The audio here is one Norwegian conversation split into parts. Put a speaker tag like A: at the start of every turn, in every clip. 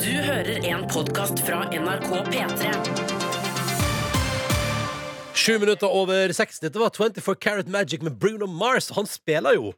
A: Du hører en podkast fra NRK P3.
B: Sju minutter over seks. Dette var 24 Carat Magic med Bruno Mars. Han spiller jo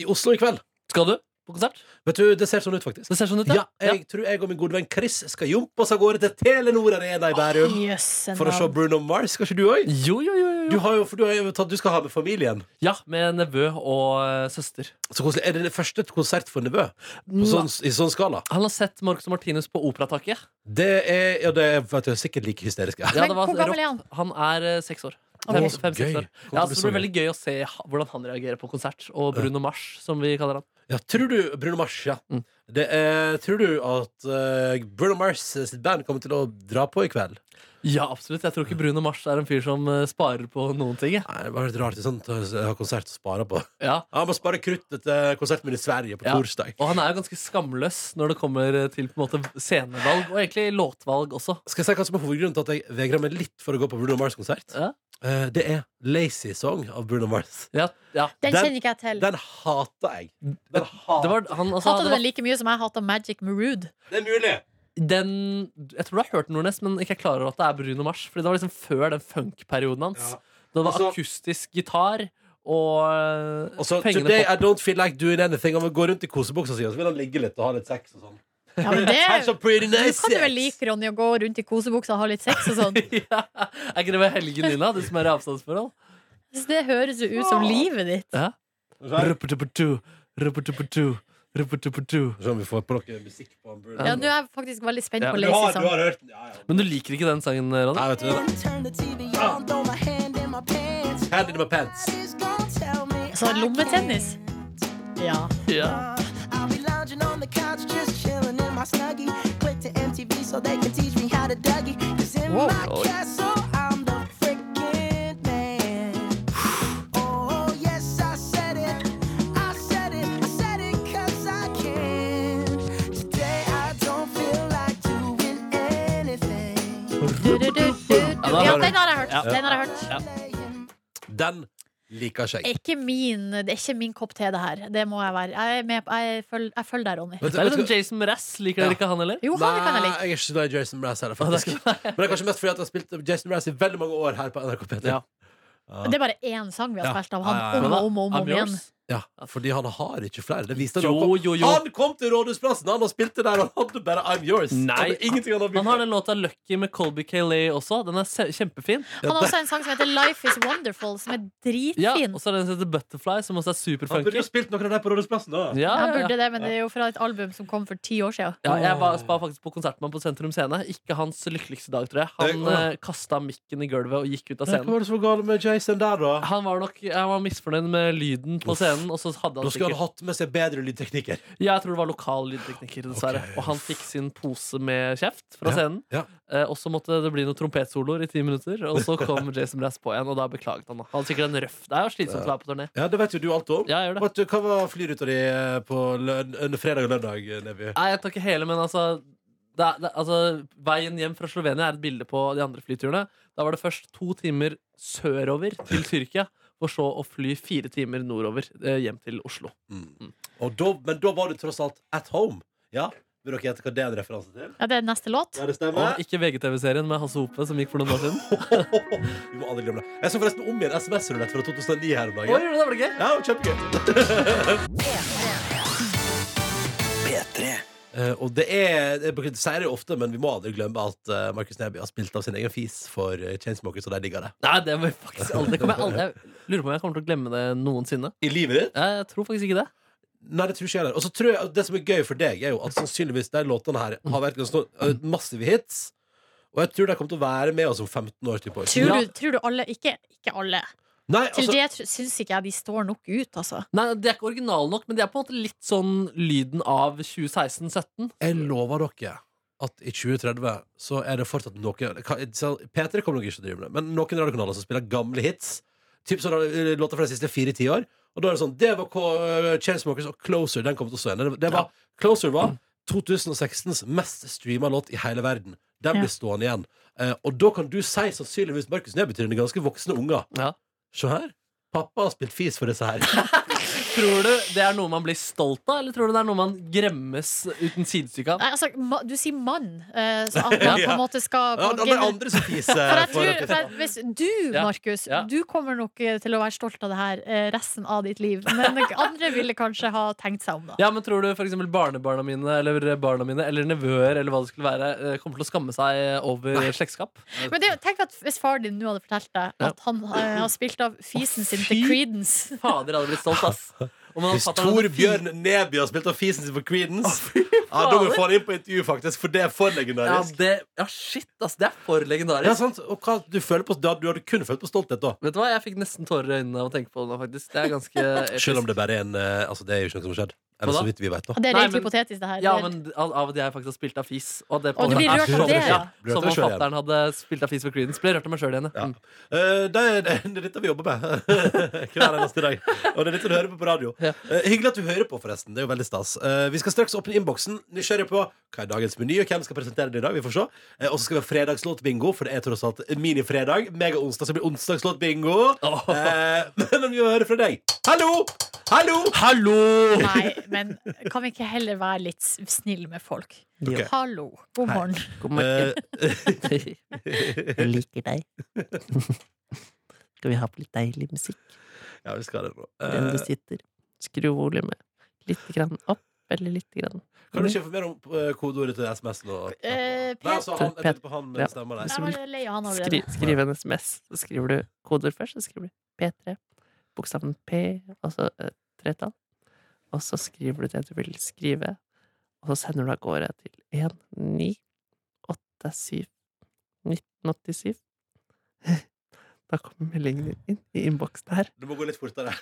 B: i Oslo i kveld.
C: Skal du på konsert?
B: Vet du, Det ser sånn ut, faktisk.
C: Det ser sånn ut,
B: Ja, jeg tror jeg og min gode venn Chris skal jumpe oss av gårde til Telenor Arena i Bærum
D: Jøsse
B: for å se
D: navn.
B: Bruno Mars. Skal ikke du òg?
C: Jo, jo, jo. jo.
B: Du, har jo, for du, har jo tatt- du skal ha med familien.
C: Ja, med nevø og eh, søster.
B: Så koselig. Er det det første konsert for nevø på sånn, i sånn skala?
C: Han har sett Marcus og Martinus på Operataket.
B: Det er, ja, det er, vet du, sikkert like hysterisk. Ja.
D: Men hvor gammel er han?
C: Han er eh, seks år.
D: Ok.
C: Fem, fem, seks
B: Gøy.
C: år.
B: Kommer
C: Ja, så
B: til
C: det blir
B: sommer.
C: veldig gøy å se ha- hvordan han reagerer på konsert. Og Bruno Mars, som vi kaller han.
B: Ja, tror du Bruno Mars, ja.
C: Mm.
B: Det er, tror du at eh, Bruno Mars eh, sitt band kommer til å dra på i kveld?
C: Ja, absolutt. Jeg tror ikke Bruno Mars er en fyr som eh, sparer på noen ting. jeg.
B: Nei, det var litt rart. Sånn, å ha konsert å spare på.
C: Ja.
B: Ja, Han må spare kruttet til konserten min i Sverige på
C: Ja.
B: torsdag.
C: Og han er jo ganske skamløs når det kommer eh, til på en måte scenevalg, og egentlig låtvalg også.
B: Skal jeg si hva som er hovedgrunnen til at jeg vegrer meg litt for å gå på Bruno Mars-konsert?
C: Ja.
B: Eh, det er Lazy Song av Bruno Mars.
C: Ja, ja.
D: Den
B: Den-
D: kjenner ikke jeg til.
B: Den hater jeg. Den
C: Det
B: hater.
C: var, han, altså,
D: Hater du
C: det
D: den like mye som jeg hater Magic Marood?
B: Det er mulig.
C: var den, jeg tror du har hørt den, Nordnes, men ikke er klar over at det er Bruno Mars. Fordi det var liksom før den funk-perioden hans.
B: Ja.
C: Da det var
B: Altså-
C: akustisk gitar og eh,
B: Og så
C: pengene
B: Today
C: på
B: I don't feel like doing anything. Han vil gå rundt i kosebuksa si, og så vil han ligge litt og ha litt sex og sånn.
D: Ja, men
B: That's
D: det
B: a pretty
D: du
B: nice
D: kan jo vel
B: sex.
D: like Ronny å gå rundt i kosebuksa og ha litt sex og sånn.
C: ja. Er ikke det ved helgen dina, du som er i avstandsforhold?
D: Så Det høres jo ut som livet ditt.
C: Ja. Ruppertuppertu, ruppertuppertu, ruppertuppertu.
B: Se om vi får på noe musikk på han Bruno.
D: Ja, Nå er jeg faktisk veldig spent
C: Ja,
D: på
C: men
D: sånn.
B: du, har, du
D: lesesang.
B: har hørt den? Ja, ja.
C: Men du liker ikke den sangen, Ronny?
B: Nei, vet du det. Hand in my pants.
D: Altså lommetennis. Ja.
C: Ja.
E: I'll be lounging on the couch, just chilling in my snuggie. Click to MTV so they can teach me how to Dougie. 'Cause in
D: Whoa.
E: my
C: Oi.
E: castle, I'm the freaking man. oh, yes, I said it. I said it. I said it 'cause I can. Today, I don't feel like doing anything.
D: Du, du, du, du. ja, den har jeg hørt.
C: Ja.
D: Den har jeg hørt.
B: Den liker ikke jeg.
D: Ikke min, det er ikke min kopp te, det her. Det må jeg være. Jeg, er med, jeg, følger, jeg følger deg, Ronny.
B: Vet
C: Det er litt
B: vet
C: sånn Jason Mraz. Liker dere ikke han heller?
D: Jo, han kan jeg
B: Nei,
D: like.
B: jeg er ikke så glad i Jason Mraz heller, faktisk. Men det er kanskje mest fordi at jeg har spilt Jason Mraz i veldig mange år her på NRK P3.
C: Ja.
D: Det er bare én sang vi har
B: Ja.
D: spilt av
B: Ja,
D: han
B: ja, ja.
D: om og om og om, og om
C: I'm
D: igjen.
C: yours.
B: Ja, fordi han har ikke flere. Det viste han
C: Jo,
B: han kom-
C: jo, jo.
B: Han kom til Rådhusplassen han og spilte der, og han hadde bare I'm Yours.
C: Nei.
B: Han hadde ingenting han hadde
C: Han har den låta Lucky med Colby Kaylay også. Den er se- kjempefin.
D: Han har også en sang som heter Life Is Wonderful, som er
C: Ja,
D: dritfin.
C: Og så er den som heter Butterfly, som også er
B: Han burde
C: superfunky.
B: jo spilt noen av de på Rådhusplassen, da.
C: Ja,
D: Han
C: ja,
D: burde
C: ja.
D: det, men det er jo fra et album som kom for ti år siden.
C: Ja, jeg var, var faktisk på konsert med han på Sentrum Scene. Ikke hans lykkeligste dag, tror jeg. Han
B: Det- å, ja.
C: eh, kasta mikken i gulvet og gikk ut av
B: Nei, Hva
C: scenen.
B: var det som var galt med Jason der, da?
C: Han var nok jeg var misfornøyd med lyden på
B: Uff.
C: scenen. Og så hadde
B: Da
C: han
B: skulle han
C: sikkert
B: hatt med seg bedre lydteknikker.
C: Ja, Jeg tror det var lokal lydtekniker, dessverre.
B: Ok.
C: Og han fikk sin pose med kjeft fra
B: Ja,
C: scenen.
B: ja.
C: Eh, og så måtte det bli noen trompetsoloer i ti minutter. Og så kom Jason Brass på igjen, og da beklaget han. Han hadde sikkert en røff Det er jo slitsomt å være på turné.
B: Ja, Det vet jo du alt om.
C: Ja, jeg gjør det.
B: Vet du, Hva var flyruta di eh, på løn, under fredag og lørdag, eh, Neby?
C: Nei, jeg tar ikke hele, men altså det er, det, altså, Veien hjem fra Slovenia er et bilde på de andre flyturene. Da var det først to timer sørover til Tyrkia, for så å fly fire timer nordover eh, hjem til Oslo.
B: Og da, men da var du tross alt at home. Ja, Vil dere gjette hva det er en referanse til?
D: Ja, det er neste låt.
B: Ja, det stemmer.
C: Og ikke VGTV-serien med Hasse Hope, som gikk for noen år siden.
B: Vi må aldri glemme det. Jeg så forresten om igjen SMS-rulett fra 2009 her om
C: Oi,
B: dagen.
C: det var det gøy!
B: Ja, kjempegøy. Eh, og det er, jeg bruker- sier det jo ofte, men vi må aldri glemme at eh, Markus Neby har spilt av sin egen fis for eh, Chainsmokers, og de digger det.
C: Nei, det må jeg faktisk aldri, det kommer jeg aldri Jeg lurer på om jeg kommer til å glemme det noensinne.
B: I livet ditt?
C: Jeg, jeg tror faktisk ikke det.
B: Nei, det tror ikke jeg heller. Og så tror jeg at det som er gøy for deg, er jo at sannsynligvis de låtene her har vært ganske eh, massive hits. Og jeg tror de kommer til å være med oss om 15 år. Typ, år.
D: Tror
C: Ja.
D: du, tror du alle Ikke, ikke alle.
B: Nei,
D: Til
B: altså,
D: det tr- syns ikke jeg de står nok ut, altså.
C: Nei, De er ikke originale nok, men de er på en måte litt sånn lyden av 2016-17.
B: jeg lover dere at i 2030 så er det fortsatt noen P3 kommer nok ikke til å drive med det, men noen radiokanaler som spiller gamle hits. Typ sånn eh, låter fra de siste fire tiår. Og da er det sånn Det var K- Chainsmokers og Closer. Den kommer til å stå igjen. Det- Det var, Closer var 2016s mest streama låt i hele verden. Den
D: Ja.
B: blir stående igjen. Eh, og da kan du si sannsynligvis Markus Neby til dine ganske voksne unger.
C: Ja.
B: Se her. Pappa har spilt fis for disse her.
F: Tror du det er noe man blir stolt av, eller tror du det er noe man gremmes uten sidestykke av?
G: Nei, altså, ma, du sier mann, eh, så at man på en måte skal på
B: Ja, det er
G: gener-
B: andre som fiser.
G: for jeg
B: for
G: tror,
B: at det-
G: for jeg, hvis Du,
F: Ja,
G: Markus,
F: ja.
G: du kommer nok eh, til å være stolt av det her eh, resten av ditt liv. Men andre ville kanskje ha tenkt seg om, da.
F: Ja, men tror du for eksempel barnebarna mine eller barna mine eller nevøer eller hva det skulle være, eh, kommer til å skamme seg over slektskap?
G: Men det, tenk at hvis far din nå hadde fortalt deg
F: Ja.
G: at han eh, har spilt av fisen sin
F: fy.
G: til Creedence
F: Fader, jeg hadde blitt stolt, ass. Om han hadde
B: Hvis
F: fattet meg
B: Tor
F: noen
B: Bjørn Neby har spilt av fisen sin for Creedence ja, Da må vi få han inn på intervju, faktisk, for det er for
F: Ja,
B: legendarisk.
F: det, ja, shit, ass. Det er for
B: Ja,
F: legendarisk.
B: sant? Og hva du føler på da, Du hadde kun følt på stolthet, da.
F: Vet du hva, Jeg fikk nesten tårer i øynene av å tenke på det nå, faktisk. Det er ganske episk.
B: Selv om det bare er en eh, Altså, det er jo ikke noe som har skjedd.
F: Hva
B: Eller
F: da?
B: så vidt vi vet, da.
G: Det er
F: Nei,
G: rent
F: men-
G: hypotetisk, det her.
F: Ja, men av av at jeg faktisk har spilt av fis. Og, det
G: Å, du blir rørt av det, ja.
B: Blir rørt av
F: Som
B: det
F: om
B: selv igjen.
F: fatter'n hadde spilt av fis for Creedence. Ble rørt av meg sjøl igjen, ja.
B: Ja.
F: Mm.
B: Eh, det, er, det er dette vi jobber med hver eneste dag. Og det er dette du hører på på radio.
F: Ja.
B: Eh, hyggelig at du hører på, forresten. Det er jo veldig stas. Eh, vi skal straks åpne innboksen. Nysgjerrig på hva er dagens meny, og hvem skal presentere det i dag. Vi får se. Eh, og så skal vi ha fredagslåtbingo, for det er tross alt minifredag. Mega-onsdag, så det blir onsdagslåtbingo.
F: Åh.
B: Eh, men vi må høre fra deg. Hallo! Hallo!
F: Hallo!
G: Nei, men kan vi ikke heller være litt s- snille med folk?
B: Ok.
G: Hallo, god
B: Hei.
G: morgen.
C: God
B: Eh,
C: morgen. Jeg liker deg. Skal vi ha på litt deilig musikk
B: ja, vi skal ha det nå.
C: for den
B: Eh,
C: du sitter? Skru volumet litt grann opp, eller litt grann.
B: kan du ikke informere om eh, kodeordet til SMS nå?
G: Eh,
B: Nei,
G: Peter,
B: altså, han, jeg tenkte på han
C: Ja.
B: stemmer
G: jeg
B: der.
G: var lei av han
C: Skri,
G: allerede.
C: skriv en SMS, så skriver du kodeord først, så skriver du P3, bokstaven P, og så et tretall, og så skriver du det du vil skrive, og så sender du av gårde til 1987 1987. Da kommer meldingen din inn i innboksen her.
B: Du må gå litt fortere.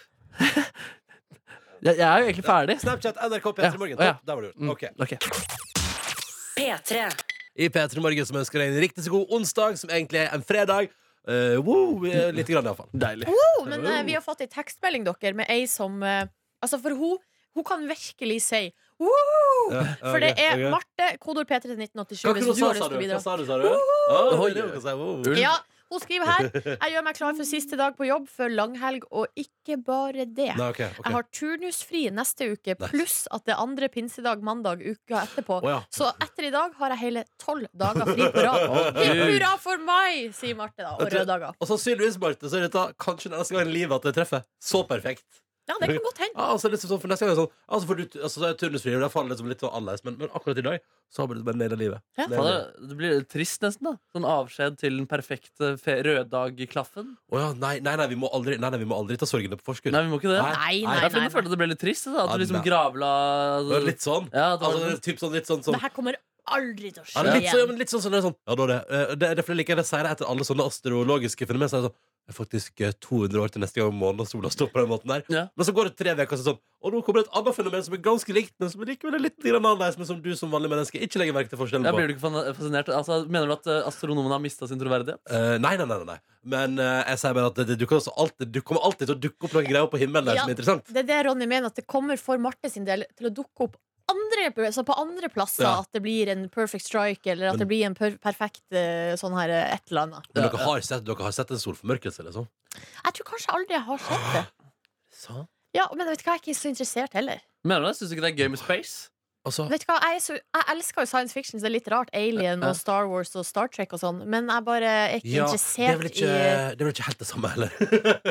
F: Jeg, jeg er jo egentlig ferdig.
B: Snapchat, NRK
F: Ja.
B: P3 Morgen.
F: Å, ja.
B: Topp, Der var det gjort.
F: Mm,
B: Ok.
F: ok.
A: P3.
B: i P3 Morgen som ønsker deg en riktig så god onsdag, som egentlig er en fredag. Eh, wow, vi er litt grann, iallfall.
F: Deilig.
D: Jo, men eh, vi har fått ei tekstmelding, dere, med ei som eh, Altså, for hun, hun kan virkelig si Woohoo! For det er Marte, kodeord P3 til 1987,
B: Hva kunne
D: hvis
B: du
D: du
B: sa, sa
D: har
B: du?
D: lyst til å
B: Hva
D: bidra.
B: sa du, sa du? Oi, det er jo hva jeg sa, wow.
D: Ja, hun skriver her. Jeg gjør meg klar for siste dag på jobb før langhelg, og ikke bare det.
B: Nei, ok, ok.
D: Jeg har turnusfri neste uke,
B: Nice.
D: pluss at det er andre pinsedag mandag uka etterpå.
B: Å, ja.
D: Så etter i dag har jeg hele tolv dager fri på rad. Hurra for meg, sier Marte, da. Og
B: Jeg tror-
D: røde dager.
B: Og sannsynligvis, Marte, så er dette kanskje den eneste gangen i livet at det treffer så perfekt.
D: Ja, det kan godt hende.
B: Ja, altså, liksom sånn, for neste gang er det sånn Altså, for du, altså, så er jeg turnusfri, og der faller det liksom litt sånn annerledes, men, men akkurat i dag så har vi det bare naila livet.
D: Ja.
B: Naila
F: Faen,
B: livet.
F: det- Det blir trist, nesten. da Sånn avskjed til den perfekte fe- røddag-klaffen.
B: Å ja, nei, nei, nei, vi må aldri, nei, nei, vi må aldri ta sorgene på forskudd.
F: Nei, vi må ikke det.
B: Nei,
D: Nei, nei,
F: Jeg
D: nei.
F: følte- følte at det ble litt trist. Da, at du
B: Ja,
F: liksom gravla
B: Det var Litt sånn.
F: Ja, det var
B: Altså, typ sånn, litt sånn, sånn
D: Det her kommer aldri til å
B: Ja,
D: skje
B: litt, sånn, ja,
D: igjen.
B: men litt sånn, som det er sånn Ja, da er det Eh, Det er derfor jeg liker det sier det etter alle sånne astrologiske fenomen. Så er det sånn det er faktisk eh, 200 år til neste gang månen og sola står på den måten der.
F: Ja.
B: Men så går det tre uker, og så er det sånn Og nå kommer det et annet fenomen som er ganske likt, men som likevel er litt grann annerledes, men som du som vanlig menneske ikke legger merke til forskjellen
F: Ja,
B: på.
F: blir du ikke fan- fascinert? Altså, mener du at eh, astronomene har mista sin troverdighet?
B: Eh, nei, nei, nei, nei, nei. Men eh, jeg sier bare at det, det, dukker også alltid, du kommer alltid til å dukke opp noen greier på himmelen der
D: Ja.
B: som er interessant.
D: Det er det Ronny mener, at det kommer for Marte sin del til å dukke opp andre, så på andre plasser.
B: Ja.
D: At det blir en perfect strike, eller at
B: Men-
D: det blir en per perfekt eh, sånn her eh, et eller annet.
B: Men
F: Ja,
B: dere, har sett, dere har sett en solformørkelse, liksom?
D: Jeg tror kanskje aldri jeg har sett det.
B: Så?
D: Ja, men vet du hva, jeg er ikke så interessert heller.
F: Mener du det? Syns du ikke det er gøy med space?
B: Altså,
D: Vet du hva, jeg, er så, jeg elsker jo science fiction, så det er litt rart. Alien
F: Ja.
D: og Star Wars og Star Trek og sånn. Men jeg bare er ikke
B: ja, det er
D: interessert
B: vel ikke,
D: i
B: det er vel ikke helt det samme, heller.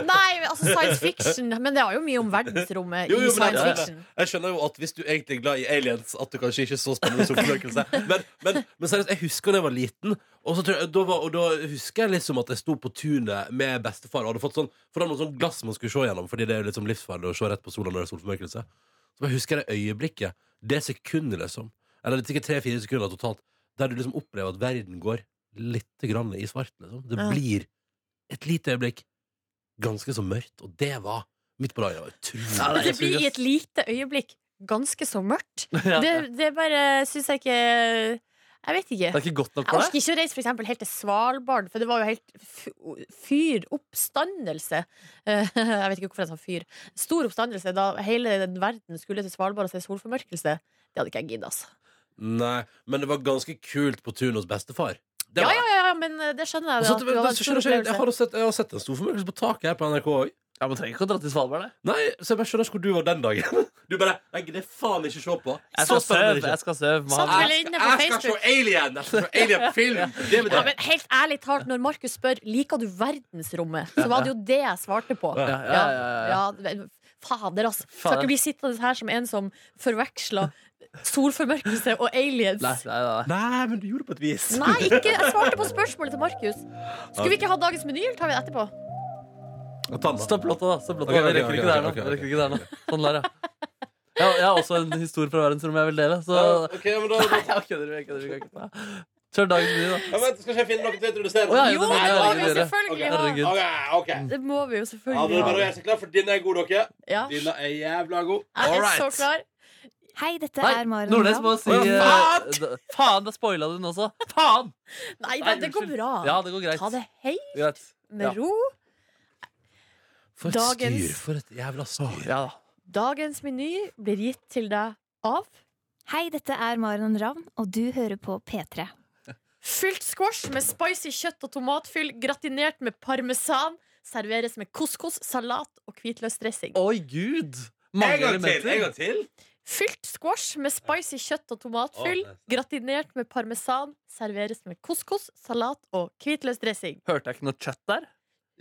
D: Nei, altså science fiction. Men det har jo mye om verdensrommet
B: Jo, jo,
D: i
B: men
D: science
B: jeg-
D: fiction.
B: Jeg skjønner jo at hvis du egentlig er glad i aliens, at du kanskje ikke er så spennende solformørkelse. Men, men, men seriøst, jeg husker da jeg var liten, og, så tror jeg, da var, og da husker jeg liksom at jeg sto på tunet med bestefar og hadde fått sånn For da var det sånn glass man skulle se gjennom, fordi det er jo liksom livsfarlig å se rett på sola når det er solformørkelse. Så bare husker jeg det øyeblikket, det sekundet, liksom, eller det er sikkert tre-fire sekunder totalt, der du liksom opplever at verden går litt grann i svart, liksom. Det
D: Ja.
B: blir et lite øyeblikk ganske så mørkt, og det var midt på dagen. Det var utrolig.
F: Ja,
D: Men
F: det
D: det
F: er
D: blir i
F: så
D: et lite øyeblikk ganske så mørkt.
F: Ja.
D: Det, det bare syns jeg ikke Jeg vet ikke.
F: Det er ikke godt nok
D: Jeg
F: for
D: orker
F: deg?
D: ikke å reise for eksempel, helt til Svalbard, for det var jo helt f- fyr. Oppstandelse. Eh, Jeg vet ikke hvorfor jeg sa fyr. Stor oppstandelse da hele den verden skulle til Svalbard og se solformørkelse. Det hadde ikke jeg giddet, altså.
B: Nei, men det var ganske kult på turen hos bestefar. Det Altså,
D: Ja,
B: var
D: ja, ja, ja, men eh, det skjønner
B: Og
D: jeg. at
B: så-
D: det var
B: så
D: en stor
B: skjønner jeg, jeg,
D: opplevelse.
B: har også sett, jeg har sett en stor formørkelse på taket her på NRK òg.
F: Ja, Man trenger ikke å dra til Svalbard, det.
B: Nei, så jeg bare skjønner ikke hvor du var den dagen. Du bare Jeg gidder faen ikke se på.
F: Jeg
B: Så
F: skal
B: spennende
F: søve.
B: er det ikke.
F: Jeg skal søve. med
D: Satt
F: han.
D: vel inne på Facebook.
B: Alien! Jeg skal se Alien-film! Det med
D: Ja, men helt ærlig talt, når Markus spør Liker du verdensrommet, så var det jo det jeg svarte på.
F: Ja, ja, ja, ja, ja.
D: Ja, men fader, altså. Skal
F: Fader.
D: ikke bli sittende her som en som forveksla solformørkelse og aliens.
F: Nei, nei, nei.
B: Nei, men du gjorde det på et vis.
D: Nei, ikke, jeg svarte på spørsmålet til Markus. Skulle vi ikke ha dagens meny, eller tar vi det etterpå?
B: Ta den, da.
F: Stopp låta, da. Stopp låta.
B: Ok, ok,
F: da. Vi rekker
B: ok,
F: ikke der nå.
B: ok, ok,
F: Vi rekker ikke der nå. Sånn der, ja. Jeg, jeg har også en historie fra verdensrommet jeg vil dele. Så
B: Ok, men da, da
F: Nei, jeg kødder. jeg kødder, jeg kødder. Kjør dagen din, da.
B: ja, vent, Skal ikke jeg finne noe til å introdusere?
F: Å, ja,
D: Jo,
F: den
D: det
F: må jeg
D: må
F: legge
D: vi jo
F: dere.
D: selvfølgelig
B: Ok,
D: ha!
F: Herregud.
B: OK. ok
D: Det må vi jo
B: Ja, nå er
D: selvfølgelig
B: det bare å
D: ha.
B: gjøre seg klar, for denne er god, dere.
D: Ja.
B: Denne er jævla god.
D: Jeg er så klar.
H: Hei, dette
F: Nei,
H: er Maren.
F: Nordnes må si
B: Å, ja,
F: eh, da- Faen, da spoila du den også. Faen!
D: Nei da, det går bra.
F: Ja, det går greit.
D: Ta det helt
F: Greit. Ja.
D: med ro.
B: For
D: Dagens-
B: For et jævla styr.
F: Ja da.
D: Dagens meny blir gitt til deg av
H: Hei, dette er Maren Ravn, og du hører på P3.
D: Fylt squash med spicy kjøtt og tomatfyll, gratinert med parmesan. Serveres med couscous, salat og hvitløksdressing.
F: Oi, gud! Mange elementer.
B: til.
D: Fylt squash med spicy kjøtt og tomatfyll,
B: Å, nice.
D: gratinert med parmesan. Serveres med couscous, salat og hvitløksdressing.
F: Hørte jeg ikke noe kjøtt der?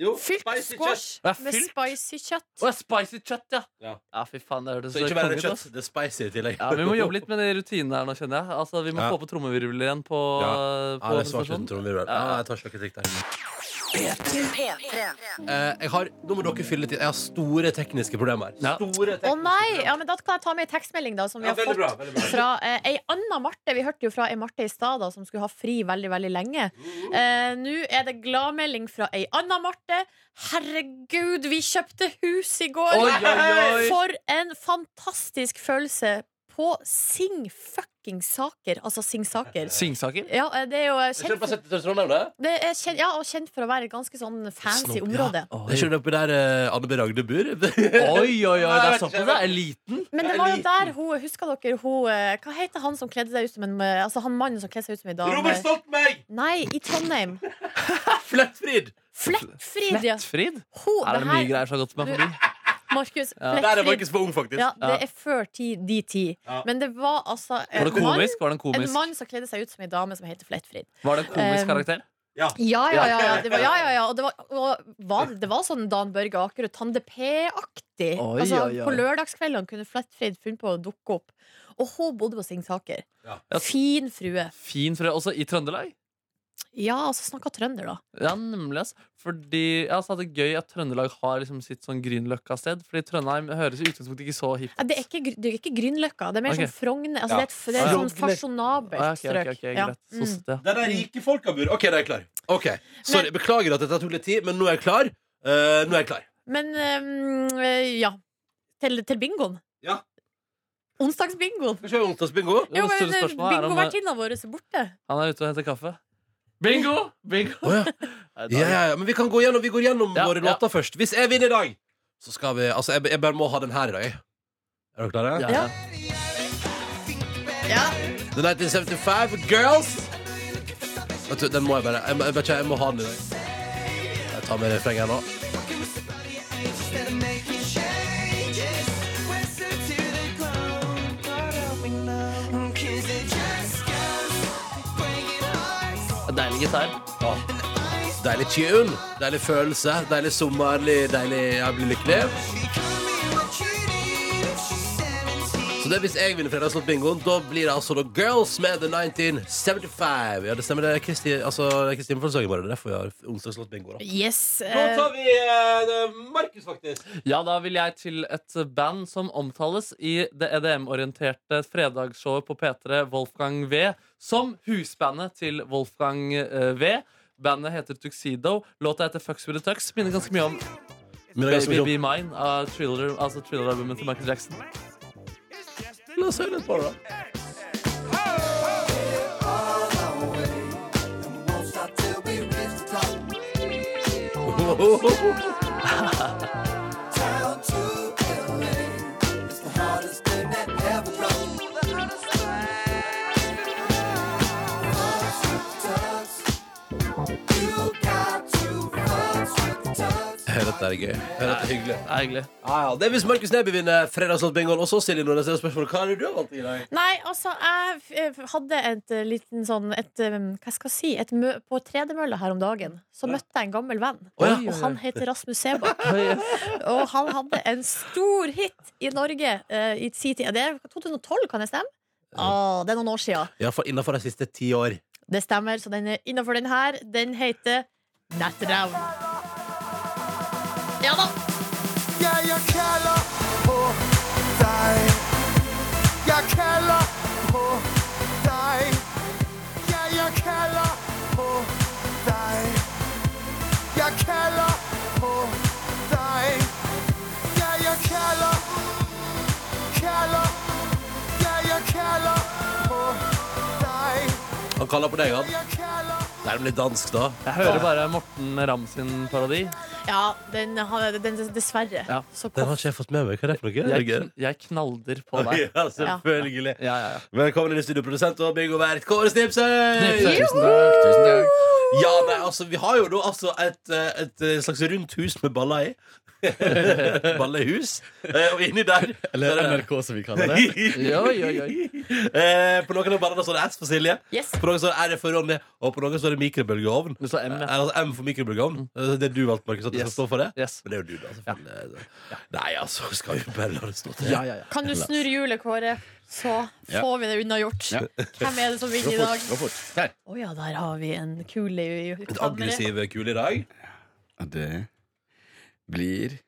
B: Jo,
D: Fylt
B: spicy
D: squash
F: Ja,
D: med
F: fylt.
D: spicy kjøtt.
F: Å, ja, spicy kjøtt, ja.
B: Ja.
F: Ja, fy faen, det hørtes
B: Så ikke bare
F: konge ut,
B: kjøtt,
F: ass.
B: det er spicy i tillegg.
F: Ja, Vi må jobbe litt med de rutinene her nå, kjenner jeg. Altså, Vi må
B: Ja.
F: få på trommevirvel igjen på,
B: Ja.
F: på
B: Ja, det er svart uten
F: presentasjonen.
B: trommevirvel.
F: Ja.
B: Ja, jeg tar ikke noe trikk der. Eh, jeg har, nå må dere fylle til. Jeg har store tekniske problemer.
F: Ja.
B: Store
D: Å
B: tekniske
D: nei! Ja, men Da kan jeg ta med ei tekstmelding da, som vi
B: Ja,
D: har
B: veldig
D: fått
B: bra, veldig bra.
D: fra eh, ei anna Marte. Vi hørte jo fra ei Marte i stad da, som skulle ha fri veldig veldig lenge. Eh, Nå er det gladmelding fra ei anna Marte. Herregud, vi kjøpte hus i går!
F: Oi, oi, oi.
D: For en fantastisk følelse på Sing fucking Saker. Altså Sing Saker.
F: Singsaker?
D: Ja, eh, det er jo eh,
B: Ikke
D: kjent
B: bare
D: for,
B: sett til Trondheim, det?
D: det er kjent, ja, og kjent for å være et ganske sånn fancy
B: Snob, Det
D: område.
B: er
F: Oi,
B: ikke det oppi der eh, Anne B. Ragde bor?
F: oi,
B: Nei,
F: oi, oi, det er
B: jeg vet ikke,
F: såpass,
B: jeg
F: det
B: vet
F: er liten.
D: Men
B: Jeg
D: det
B: er
D: var jo
B: liten.
D: der hun Husker dere hun eh, Hva heter han som kledde seg ut som en eh, Altså han mannen som kledde seg ut som en dame?
B: Robert Stoltenberg!
D: Nei, i Trondheim.
B: Flettfrid!
D: Flettfrid, ja.
F: Flettfrid?
D: Hun,
F: Her er
D: det
F: det mye
D: her,
F: greier som har gått meg forbi.
D: Markus.
F: Ja.
B: Der er
D: Flettfrid.
B: Markus for ung, faktisk.
D: Ja, det
F: Ja.
D: er før ti, de ti.
B: Ja.
D: Men det var altså en
F: Var det
D: mann,
F: komisk? Var det en
D: en
F: komisk,
D: mann som kledde seg ut som en dame som heter Flettfrid.
F: var det en komisk
D: Um,
F: karakter?
D: Ja, ja, ja. ja. Det var, ja, ja, ja. Og det var, og var, det var sånn Dan Børge Akerø, Tande P-aktig.
F: Oi,
D: Altså,
F: oi, oi.
D: på lørdagskveldene kunne Flettfrid funnet på å dukke opp. Og hun bodde på Singsaker.
B: Ja.
D: Fin frue.
F: Fin frø, også i Trøndelag?
D: Ja, altså snakka trønder, da.
F: Ja, nemlig. ass. Fordi jeg altså, det er gøy at Trøndelag har liksom, sitt sånn Grünerløkka-sted. Fordi Trøndheim høres i utgangspunktet ikke så hipt
D: Ja, Det er ikke, gr- det er ikke Grünerløkka. Det er mer
F: Ok.
D: sånn Frogner. Altså,
B: Ja.
D: det er, et- det er
F: Ja.
D: sånn fasjonabelt
F: Ah, ok, ok,
D: strøk.
F: ok, greit.
D: Ja.
F: Så
D: Mm.
F: søtt, ja.
B: Der de rike folka bor. OK, da er jeg klar. Ok, Sorry, Beklager at dette tok litt tid, men nå er jeg klar. Eh, nå er jeg klar.
D: Men ehm, eh, ja. Til, til bingoen.
B: Ja.
D: Onsdagsbingoen.
B: Skal vi se onsdagsbingo?
F: Det
D: Jo, men
F: store
D: eh,
F: spørsmålet er om eh,
D: bingovertinna vår er borte.
F: han er ute og henter kaffe. Bingo! Bingo!
B: Å, ja.
F: Nei, da-
B: Ja, ja, ja, men vi kan gå gjennom, vi går gjennom
F: Ja,
B: våre
F: ja.
B: låter først. Hvis jeg vinner i dag, så skal vi Altså, jeg, jeg bare må ha den her i dag. Er dere klare?
F: Ja, ja.
D: Ja.
B: The 1975 Girls. Vet du, den må jeg bare Jeg, må- jeg, vet ikke, jeg må ha den i dag. Jeg tar med refrenget her nå.
F: Deilig gitar.
B: Deilig tune, deilig følelse, deilig sommerlig, deilig Jeg blir lykkelig. Så det er hvis jeg vinner fredagslåt bingoen, da blir det altså da Girls med The 1975. Ja, det stemmer. Det er Kristi altså, det er Kristi hjemmefødselsdag i morgen. Det er derfor vi har onsdagslåt bingo. da
D: Yes. eh,
B: vi Markus, faktisk.
F: Ja, da vil jeg til et band som omtales i det E EDM-orienterte fredagsshowet på P3 Wolfgang V, som husbandet til Wolfgang eh, V. Bandet heter Tuxedo. Låta heter Fucks With The Tux. Minner ganske mye om
B: Men det er ganske mye
F: Baby Be Mine av Thriller, altså Thriller-albumet til Michael Jackson.
B: om- La oss høre litt på det, da. Dette dette er gøy. Jeg hører at det er hyggelig.
F: Det er hyggelig.
B: Ja, ja, det er hvis Markus Neby vinner fredagslåtbingoen. Og så Silje Nordnes, det er spørsmålet hva er det du har valgt i dag?
D: Nei, altså, jeg f- eh, hadde et eh, liten sånn et, eh, Hva skal jeg si? Et mø på tredemølla her om dagen så møtte jeg en gammel venn.
B: Å, ja.
D: Og han heter Rasmus Sebakk.
F: Oi,
D: Og han hadde en stor hit i Norge eh, i sin tid. Det er 2012, kan det stemme? Ah, det er noen år sia.
B: Iallfall innenfor de siste ti år.
D: Det stemmer. Så den er innafor den her. Den heter Nettravn. Ja da.
E: Ja, jeg kaller på deg. Jeg kaller på deg. Ja, jeg kaller på deg. Jeg kaller på deg. Ja, jeg kaller, kaller. Ja, jeg kaller på deg.
B: Han kaller på deg, han.
E: Jeg kaller
B: Det er litt dansk, da.
F: Jeg hører bare Morten Ramm sin parodi.
D: Ja, den, har- den dessverre.
F: Ja.
D: Så
B: Den
D: kom.
B: har ikke jeg fått med meg. Hva er det for noe? Er
F: Jeg,
B: det gøy?
F: kn- jeg knalder på deg.
B: Ja, selvfølgelig.
F: Ja, ja, ja.
B: Velkommen inn i studio, produsent og bingo vert Kåre Snipsøy!
F: Tusen takk. Tusen takk.
B: Ja, nei, altså, vi har jo da altså et, eh, et eh, slags rundt hus med baller i. Ballehus. Eh, Og inni der
I: Eller NRK, som vi kaller det.
F: Oi, oi, oi.
B: Eh, På noen av ballene står det S for Silje,
D: Yes.
B: på noen står det R for Ronny, og på noen står det mikrobølgeovn.
F: Du sa M,
B: Eh,
F: ja.
B: Altså M for mikrobølgeovn. Eh, Det er du valgte, Markus, at det skal
F: Mm. Yes.
B: stå for det.
F: Yes.
B: Men det er jo du, da. selvfølgelig. Nei, altså, skal vi bare la det stå til?
F: Ja, ja, ja.
D: Kan du snurre hjulet, Kåre? Så
I: Ja.
D: får vi det unnagjort.
I: Ja.
D: Hvem er det som
I: Gå
D: vinner i dag?
I: fort. gå fort Der.
D: Å ja, der har vi en kule i i
B: Et
D: kammeret.
B: aggressiv kule i dag.
I: Og det blir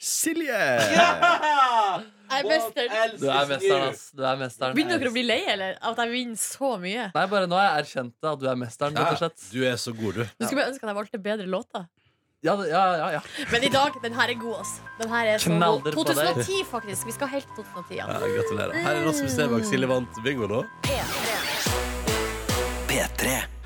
I: Silje!
D: Jeg er mester.
F: Du er mesteren, ass. Du er mesteren.
D: Begynner dere å bli lei, eller? At jeg vinner så mye?
F: Nei, bare nå har jeg erkjent det, at du er mesteren, rett og slett.
B: Du er så god, du.
D: Du skulle bare ønske at jeg valgte bedre låter.
F: Ja, det- ja, ja, ja.
D: Men i dag, den her er god, altså. Den her er så
F: Knalder
D: god.
F: på deg.
D: 2010, faktisk. Vi skal helt til 2010. Ja.
B: Ja, gratulerer. Her er Rasmus Sebakk. Silje vant bingo nå.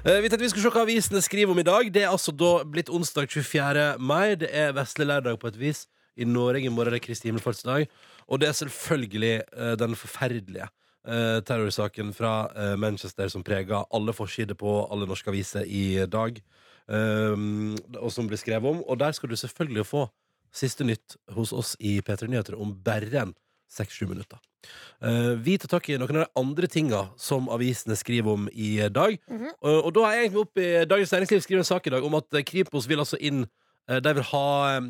B: Eh, Vi tenkte vi skulle se hva avisene skriver om i dag. Det er altså da blitt onsdag 24. mai. Det er vesle lørdag på et vis. I Norge i morgen er det Kristi himmelfartsdag. Og det er selvfølgelig eh, den forferdelige eh, terrorsaken fra eh, Manchester som preger alle forsider på alle norske aviser i dag, um, og som blir skrevet om. Og der skal du selvfølgelig få siste nytt hos oss i P3 Nyheter om bare en seks-sju minutter. Eh, vi tar tak i noen av de andre tinga som avisene skriver om i dag. og, og da er jeg egentlig opp i Dagens Næringsliv skriver en sak i dag om at eh, Kripos vil altså inn eh, De vil ha em,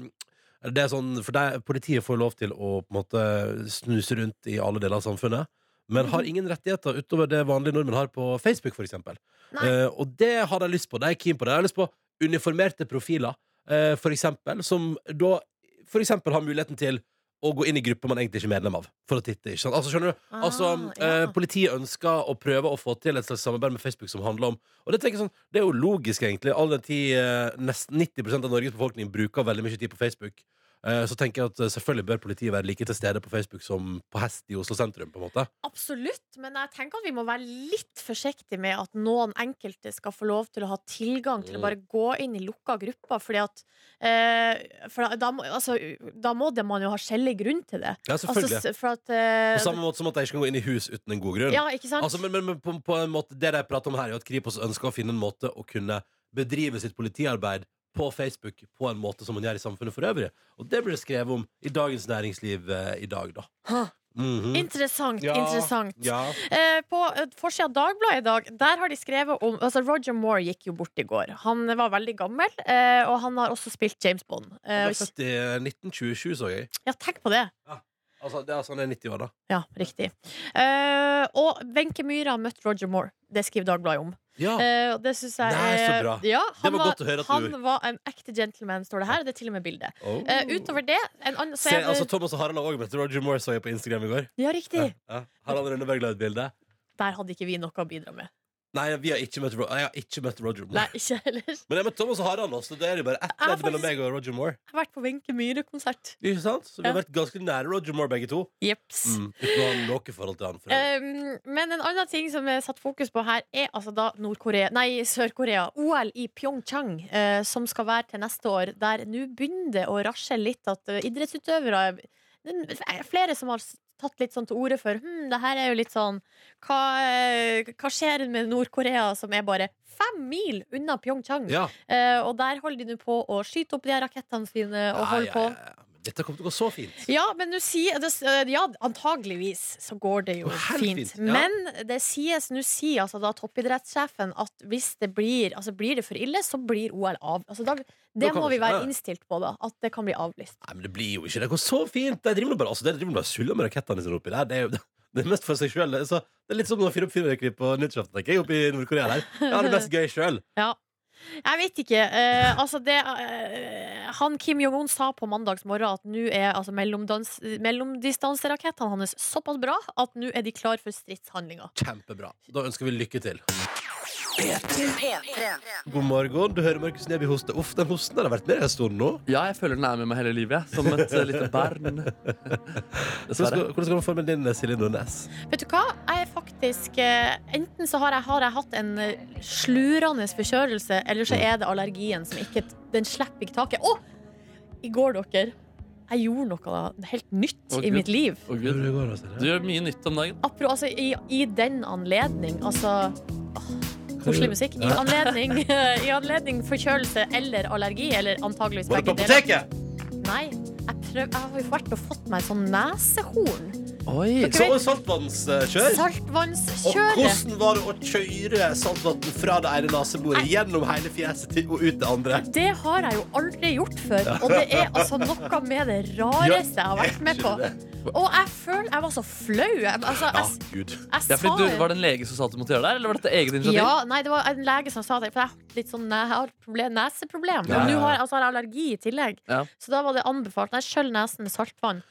B: det er sånn, for det, Politiet får lov til å på en måte snuse rundt i alle deler av samfunnet, men har ingen rettigheter utover det vanlige nordmenn har på Facebook, f.eks.
D: Nei.
B: Uh, og det har de lyst på. De er keen på det. De har lyst på uniformerte profiler, eh, for eksempel, som da for eksempel har muligheten til å gå inn i grupper man egentlig ikke er medlem av. For å titte, ikke sant? Altså, skjønner du? Altså, eh, Politiet ønsker å prøve å få til et slags samarbeid med Facebook som handler om Og det tenker jeg sånn, det er jo logisk, egentlig. All den tid eh, nesten 90 av Norges befolkning bruker veldig mye tid på Facebook. eh, Så tenker jeg at eh, selvfølgelig bør politiet være like til stede på Facebook som på hest i Oslo sentrum. på en måte
D: Absolutt, men jeg tenker at vi må være litt forsiktige med at noen enkelte skal få lov til å ha tilgang til å
B: Mm.
D: bare gå inn i lukka grupper, fordi at eh, for da, da, må, altså, da må det man jo ha skjellig grunn til det.
B: Ja, selvfølgelig.
D: Altså, s- for at eh,
B: På samme måte som at de ikke kan gå inn i hus uten en god grunn.
D: Ja, ikke sant?
B: Altså, men men, men på, på en måte, det de prater om her, er jo at Kripos ønsker å finne en måte å kunne bedrive sitt politiarbeid på Facebook på en måte som man gjør i samfunnet for øvrig. Og det blir det skrevet om i Dagens Næringsliv eh, i dag, da.
D: Hå.
B: Mhm.
D: Interessant,
B: Ja.
D: interessant.
B: Ja.
D: Eh, på eh, forsida av Dagbladet i dag, der har de skrevet om altså Roger Moore gikk jo bort i går. Han var veldig gammel, eh, og han har også spilt James Bond. Eh,
B: Han er født i 1927, så jeg.
D: ja, tenk på det.
B: Altså, det er, altså, han er 90 år, da.
D: Ja, riktig. Eh, og Wenche Myhre har møtt Roger Moore. Det skriver Dagbladet om.
B: Ja.
D: Eh, og det syns jeg
B: Nei, så
D: er-
B: bra.
D: Ja, han
B: var godt å høre at du
D: Han
B: gjorde.
D: var en ekte gentleman, står det her. og Det er til og med bildet.
B: Oh.
D: Eh, utover det en annen, så
B: Se,
D: er det,
B: altså, Thomas og Harald har òg møtt Roger Moore, så jeg på Instagram i går.
D: Ja, riktig.
B: Ja. Harald Rønneberg la ut bilde.
D: Der hadde ikke vi noe å bidra med.
B: Nei, vi har ikke møtt, Ro- jeg har ikke møtt Roger Moore.
D: Nei, ikke ellers.
B: Men jeg møtte Thomas og Harald, også, så det er jo bare ett
D: Jeg har
B: ledd mellom
D: faktisk-
B: meg og Roger Moore.
D: Jeg har vært på Wenche Myhre-konsert.
B: Ikke sant? Så vi har
D: Ja.
B: vært ganske nære Roger Moore, begge to.
D: Jeps.
B: Mm. Uten å ha noe forhold til han. For øvrig.
D: Um, men en annen ting som er satt fokus på her, er altså da Nord-Korea Nei, Sør-Korea. OL i Pyeongchang, eh, som skal være til neste år. Der nå begynner det å rasle litt at eh, idrettsutøvere det er Flere som har s- tatt litt sånn til orde for Hm, det her er jo litt sånn Hva, eh, hva skjer med Nord-Korea, som er bare fem mil unna Pyeongchang?
B: Ja.
D: Eh, og der holder de nå på å skyte opp de her rakettene sine og
B: Ja,
D: holder
B: ja,
D: på.
B: ja, ja. Dette kommer til å gå så fint.
D: Ja, men nå sier det, eh, Ja, antageligvis så går det jo
B: Helt
D: fint.
B: fint, ja.
D: Men det sies nå sier altså da toppidrettssjefen at hvis det blir Altså blir det for ille, så blir OL av. Altså, da, det
B: kan
D: må
B: vi
D: vi
B: ikke- ja,
D: være
B: ja.
D: innstilt på, da. At det kan bli avlyst.
B: Nei, men det blir jo ikke Det går så fint! De driver nå bare altså, de driver nå bare og suller med rakettene sine oppi der. Det er jo det er mest for seg sjøl. Det, er så- det er litt som å fyre opp fyrverkeri på nyttårsaften, tenker jeg, oppe i Nord-Korea der. Jeg har det mest gøy sjøl.
D: Jeg vet ikke. Eh, altså det eh, Han Kim Jong-un sa på mandags morgen at nå er altså mellomdans- mellomdistanserakettene hans såpass bra at nå er de klar for stridshandlinger.
B: Kjempebra. Da ønsker vi lykke til. God morgen. Du hører Markus Neby hoste. Uff, den hosten der har vært med en stund nå.
F: Ja, jeg føler den er med meg hele livet, jeg. Som et eh, lite barn.
B: Hvordan
F: Dessverre.
B: skal, hvordan skal man forme din, eh, Silje Nordnes?
D: Vet du hva? Jeg er faktisk eh, Enten så har jeg, har jeg hatt en eh, slurende forkjølelse, eller så er det allergien som ikke Den slipper ikke taket. Å! I går, dere, jeg gjorde noe helt nytt
F: Å,
D: i
F: Gud.
D: mitt liv.
F: Å, Gud.
B: Hvordan går det, Silje?
F: Du gjør mye nytt om dagen.
D: Apro, altså, i, I den anledning, altså åh, Koselig musikk. I anledning, I anledning forkjølelse eller allergi, eller antageligvis
B: Var det
D: begge
B: på apoteket?
D: Nei, jeg, prøv, jeg har jo vært og fått meg sånn nesehorn.
F: Oi,
B: Så saltvannskjør? Og
D: Saltvannskjøret.
B: hvordan var det å kjøre saltvann fra det ene neseboret gjennom hele fjeset til, og ut det andre?
D: Det har jeg jo aldri gjort før. Og det er altså noe med det rareste jeg har vært med på. Og jeg føler Jeg var så flau. Jeg, altså,
B: Ja,
D: jeg,
B: Ah, gud.
D: jeg,
F: ja, fordi du,
D: sa
F: Var det en lege som sa at du måtte gjøre det, her, eller var dette eget initiativ?
D: ja, nei, det var en lege som sa det. For jeg har litt sånn ne- jeg har problem, neseproblem.
B: Ja, ja, ja.
D: Og nå har jeg altså, jeg har allergi i tillegg.
F: Ja.
D: Så da var det anbefalt. Nei, skjøll nesen med saltvann.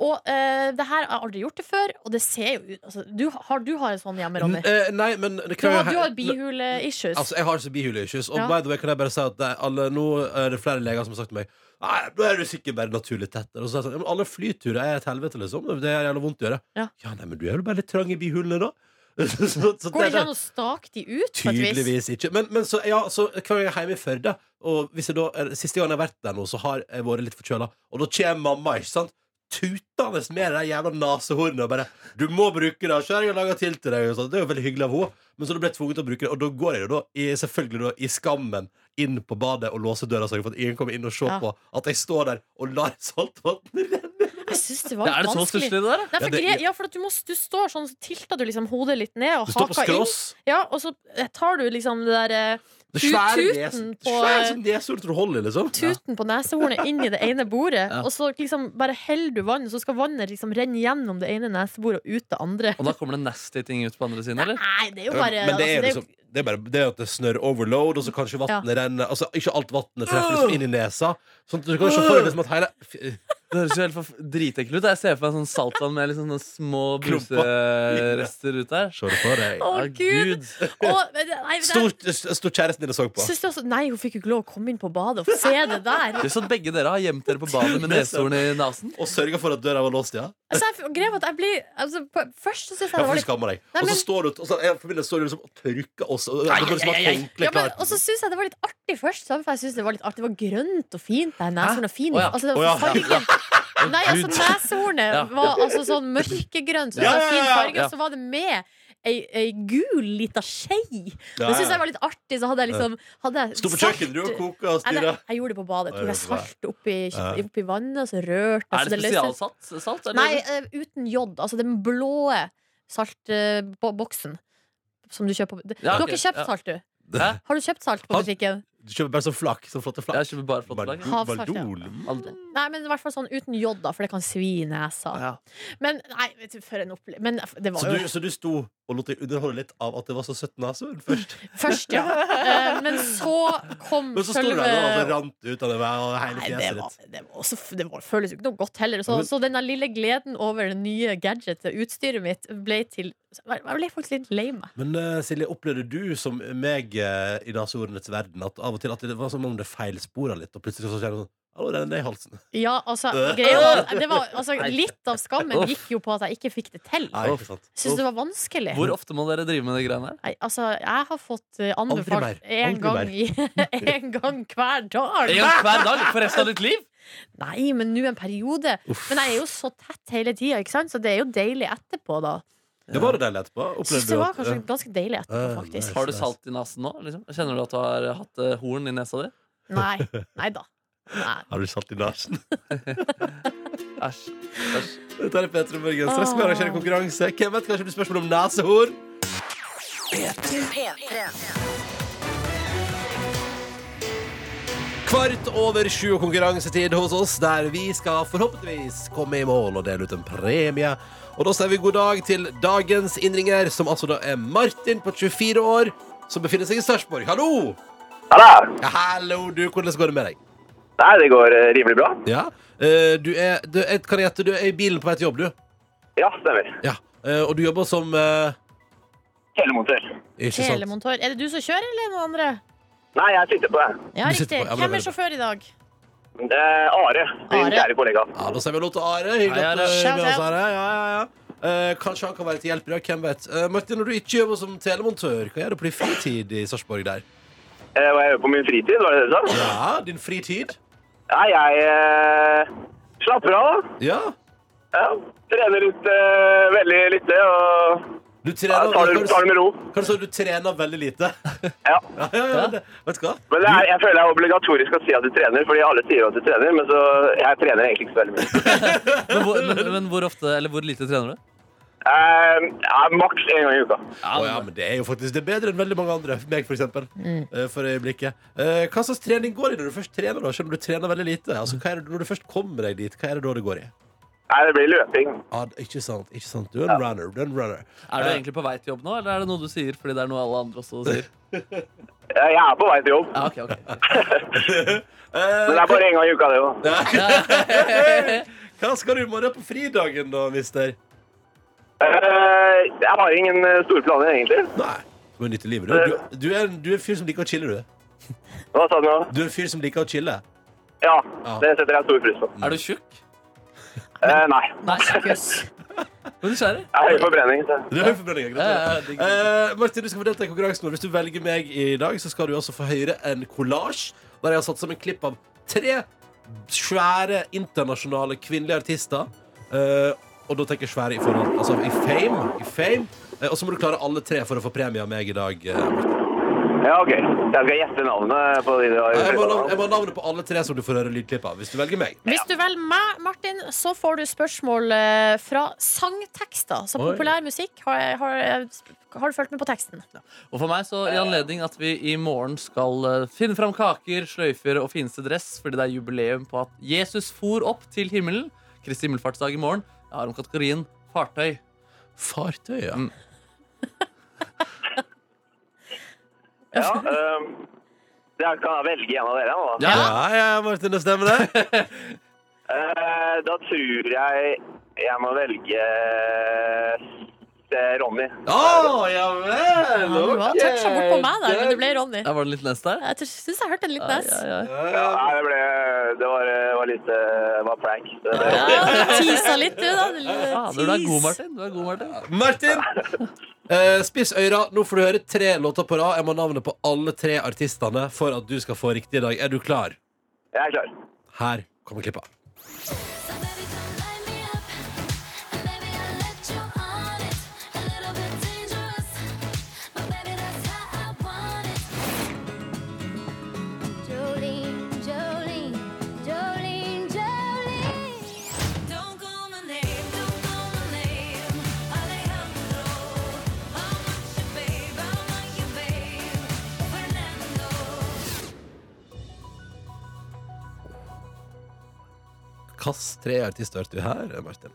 D: Og eh, det her har jeg aldri gjort det før, og det ser jo ut altså, du, har, du har en sånn hjemme, Ronny.
B: N- eh, Nei, men det
D: Du
B: kan
D: har,
B: jo-
D: du har bihule-issues.
B: Altså, jeg har ikke bihuleissues. Og
D: Ja.
B: by the way, kan jeg bare si at det er alle, nå er det flere leger som har sagt til meg Nei, nå er du sikkert bare naturlig tett. Og så er jeg sånn, ja, men alle flyturer er et helvete, liksom. Det er jævla vondt å gjøre.
D: Ja.
B: nei, men du er vel bare litt trang i bihulene, da? så, så, så
D: Går
B: det er-
D: det ikke an å stake de ut på et vis?
B: Tydeligvis ikke. Men, men så, ja, så hver gang jeg er hjemme i Førde, og hvis jeg da, eh, siste gang jeg har vært der nå, så har jeg vært litt forkjøla, og da kommer mamma, ikke sant? Tutende med det der jævla nesehornet og bare 'Du må bruke det, kjør, jeg har laga til til deg.' Og sånn. det er jo veldig hyggelig av henne, men så da ble jeg tvunget til å bruke det, og da går jeg jo da, i, selvfølgelig da, i skammen inn på badet og låser døra, så for at ingen kommer inn og ser
D: Ja.
B: på at jeg står der og lar saltvannet renne.
D: Jeg synes det var
F: Ja, er det sånn så
D: vanskelig.
F: stusslig, det der? da?
D: Nei, for
B: Ja, det-
D: gre- ja, for at du, må, du står sånn, så tilter du liksom hodet litt ned og
B: Du står på
D: haka inn.
B: skrås.
D: Ja, og så eh, tar du liksom det der eh,
B: Det
D: Tut-
B: svære
D: tuten
B: nesen-
D: på, eh,
B: svære sånn neshorn som du holder i, liksom.
D: tuten på nesehornet inn i det ene bordet,
F: Ja.
D: og så liksom bare heller du vann, så skal vannet liksom renne gjennom det ene neseboret og ut det andre.
F: Og da kommer det nasty ting ut på andre siden, eller?
D: Nei, det er jo
B: Ja,
D: bare
B: men det er, jo
D: altså,
B: liksom, det er bare det at det snør overload, og så kanskje vannet renner Altså, ikke alt vannet treffer liksom inn i nesa. Sånn at du kan se for deg liksom at hele f-
F: Det høres jo helt forf- dritekkelt ut. Jeg ser for meg sånn saltvann med litt sånne små
B: Klumper.
F: bruserester ut der.
B: Se det for deg.
D: Å,
F: Ja,
D: Gud. Å, men det- nei, men det-
B: Stort, stort kjæresten din jeg så på.
D: Synes du også, nei, hun fikk jo ikke lov å komme inn på badet og se det der.
F: Det er sånn at begge dere har gjemt dere på badet med neshorn i nesen.
B: Og sørga for at døra var låst, ja.
D: Altså, jeg, greia var at jeg blir altså, på, Først så synes jeg
B: Ja,
D: det var
B: for du
D: litt
B: skammer deg.
D: Nei,
B: Og så
D: men-
B: står du og så, jeg, forbinder, står du liksom og tørker oss. Og, det er bare som et håndkle
D: Ja, men,
B: klart.
D: og så syns jeg det var litt artig først. sant? For jeg synes Det var litt artig Det var grønt og fint. Det er neshorn og fin.
F: Å ja.
D: altså, det
B: Å ja.
D: var fargen. Nei, altså neshornet
F: Ja.
D: var altså sånn mørkegrønt. Så det
B: Ja,
D: var
B: ja,
D: fin
B: ja, ja.
D: farge, og så var det med ei, ei gul lita skei.
B: Ja,
D: Det syns
B: ja.
D: jeg var litt artig. Så hadde jeg liksom hadde jeg
B: Sto på
D: salt-
B: kjøkkenet du og koka og
D: Nei,
B: styra.
D: det- jeg gjorde det på badet.
B: Ja,
D: Tok jeg
B: det var bra.
D: salt oppi,
B: Ja.
D: oppi vannet, og så rørte jeg, så
F: Er det
D: løste-
F: spesialsalt? Salt, eller?
D: Altså, Nei, eh, uten jod. Altså den blå saltboksen som du kjøper på Du
F: Ja,
D: har
F: ok,
D: ikke kjøpt
F: ja.
D: salt, du?
F: Hæ?
D: Har du kjøpt salt på
B: Har-
D: butikken?
B: Du kjøper bare sånn flak. Sånn flotte flak.
F: Jeg kjøper bare flott flagg.
B: Bardo-
D: Havsalt, ja.
B: Bardol.
F: Aldri.
D: Nei, men i hvert fall sånn uten jod, da, for det kan svi i nesa.
F: Ja.
D: Men nei, vet du, for en opplevelse Men det
B: Så
D: var
B: du,
D: jo
B: så du sto og lot deg underholde litt av at det var så søtt nesehorn først?
D: først, ja. Eh, Men så kom
B: Men så sto du der og det rant ut av det og hele
D: Mm. Nei, det,
B: fjeset
D: var,
B: ditt.
D: det, var også, det var, føles jo ikke noe godt heller. Så,
B: Men-
D: så den der lille gleden over det nye gadgetet, utstyret mitt, ble til Jeg ble faktisk litt lei meg.
B: Men eh, Silje, opplevde du som meg eh, i naseordenes verden at av og til at det var som om det feilspora litt, og plutselig så kjenner du sånn Hallo, det er i halsen.
D: Ja, altså,
B: Øh.
D: greia var, det var, altså Litt av skammen gikk jo på at jeg ikke fikk det til.
B: Nei, ikke sant.
D: Syns det var vanskelig.
F: Hvor ofte må dere drive med de greiene her?
D: Nei, altså, jeg har fått eh,
B: Aldri mer.
D: anbefalt
B: Aldri
D: én gang, i- en gang hver dag.
F: En gang hver dag for resten av ditt liv?
D: Nei, men nå en periode. Men jeg er jo så tett hele tida, ikke sant? Så det er jo deilig etterpå, da.
B: Det var det deilig etterpå.
D: Jeg
B: Opplevde
D: synes det
B: du
D: var
B: at- eh, Øh,
D: kanskje
B: ja.
D: ganske deilig etterpå,
B: Ja,
D: faktisk.
B: nice.
F: Har du salt i nesen nå? Liksom? Kjenner du at du har hatt eh, horn i nesa di?
D: Nei. Nei da. Nei.
B: Har du satt i nesen?
F: Æsj. æsj.
B: Dette er Petra Morgen. Straks skal vi arrangere konkurranse. Hvem vet, kanskje det blir spørsmål om nesehår? Kvart over sju og konkurransetid hos oss, der vi skal forhåpentligvis komme i mål og dele ut en premie. Og da sier vi god dag til dagens innringer, som altså da er Martin på 24 år, som befinner seg i Sarpsborg. Hallo!
J: Hallo!
B: Ja, hallo, du. Hvordan går det med deg?
J: Nei, det går eh, rimelig bra.
B: Ja. eh, Du er, du, jeg kan gjette, du er i bilen på vei til jobb, du.
J: Ja, stemmer.
B: Ja. eh, Og du jobber som eh,
J: Telemontør.
B: Ikke sant?
D: Telemontør. Er det du som kjører, eller noen andre?
J: Nei, jeg sitter på det.
D: Ja,
B: Du sitter
D: riktig.
B: på- ja, men
D: Hvem
B: det
D: er
B: er
D: sjåfør i dag?
J: Eh, Are, din
D: Are.
J: kjære kollega.
B: Ja, da sier vi hallo til Are. Hyggelig
F: Hei,
B: at
F: Are.
B: du er med
D: Shout
B: oss,
D: out.
B: Are. Ja, ja, ja. Eh, kanskje han kan være til hjelp i dag. Hvem vet. Eh, Martin, når du ikke jobber som telemontør, hva gjør du på din fritid i Sarpsborg der?
J: Eh, hva jeg gjør på min fritid, var det det du sa?
B: Ja, din fritid?
J: Nei, jeg eh, slapper av. da.
B: Ja.
J: Ja, trener litt eh, veldig lite og
B: Du
J: ja,
B: trener,
J: tar, det, tar det med ro.
B: Kan du si at du trener veldig lite?
J: Ja.
B: ja, ja, ja, det, vet du hva?
J: Men det er, jeg føler det er obligatorisk å si at du trener, fordi alle sier jo at du trener, men så jeg trener egentlig ikke så veldig mye.
F: Men, hvor, men, men hvor ofte, eller hvor lite trener du?
J: Eh, ja, maks én gang i uka.
B: Å ja, men det er jo faktisk det er bedre enn veldig mange andre. Meg, for eksempel.
D: Mm.
B: eh, For øyeblikket. Eh, Hva slags trening går det i når du først trener, da? Selv om du trener veldig lite. Altså, hva er det, når du først kommer deg dit, hva er det da det går i?
J: Nei, det blir løping.
B: Ja, det- ikke sant. ikke sant. Du er en runner. Du er en runner.
F: Er du egentlig på vei til jobb nå, eller er det noe du sier fordi det er noe alle andre også sier?
J: Eh, Jeg er på vei til jobb,
F: Ja, ok, ok
B: Eh,
J: men det er bare én gang i uka, det òg.
B: Hva skal du i morgen på fridagen, da, mister?
J: Jeg har ingen eh, store planer, egentlig.
B: Nei. Du er nytt i livet. Du, du, du, er, du er en fyr som liker å chille, du.
J: Hva sa du nå?
B: Du er en fyr som liker å chille.
J: Ja,
B: Ja.
J: det setter jeg stor pris på.
F: Er du tjukk?
J: Eh, nei,
F: Nei. Men nysgjerrig.
J: jeg har høy forbrenning. Så.
B: Du er forbrenningen, gratulerer.
F: Ja, ja, digg.
B: Eh, Martin, du skal få delta i konkurransen vår. Hvis du velger meg i dag, så skal du også få høre en kollasj der jeg har satt sammen klipp av tre svære internasjonale kvinnelige artister. Eh, og da tenker jeg svære i forhold Altså i fame. I fame. Eh, og så må du klare alle tre for å få premie av meg i dag. eh, Martin. Eh,
J: Ja, ok. Jeg skal gjette navnet på de du har
B: Jeg må, ha navn, jeg må ha navnet på alle tre som du får høre lydklipp av. Hvis du velger meg.
D: Hvis du velger meg, Martin, så får du spørsmål eh, fra sangtekster. Så
B: Oi.
D: populær musikk har, har, har du fulgt med på teksten.
F: Og for meg, så i anledning at vi i morgen skal eh, finne fram kaker, sløyfer og fineste dress, fordi det er jubileum på at Jesus for opp til himmelen. Kristi himmelfartsdag i morgen. Jeg har om kategorien fartøy.
B: Fartøy, ja.
F: Mm.
J: Ja, ehm, jeg kan velge en av dere nå, da.
F: Ja.
B: Ja, ja, Martin, det stemmer det.
J: Eh, da tror jeg jeg må velge eh, Ronny.
B: Å, ja vel!
D: Ja, du har
B: ok.
D: toucha bort på meg der, men det ble Ronny.
F: Ja, var det litt nest der?
D: Jeg syns jeg hørte en liten
F: Ai,
D: S.
F: ai, ai.
B: Ja,
J: Ja,
B: ja.
J: nei, det ble Det var, eh, var litt eh, Det var prank. Det ble,
D: Ja, du teasa litt, du, da. Du
F: Fader, du er god,
D: tease.
F: Martin. Du er god, Martin.
B: Martin! Eh, spiss øyra, nå får du høre tre låter på rad. Jeg må ha navnet på alle tre artistene for at du skal få riktig i dag. Er du klar?
J: jeg er klar.
B: Her kommer klippa. Hvilke tre artister hørte du her, Martin?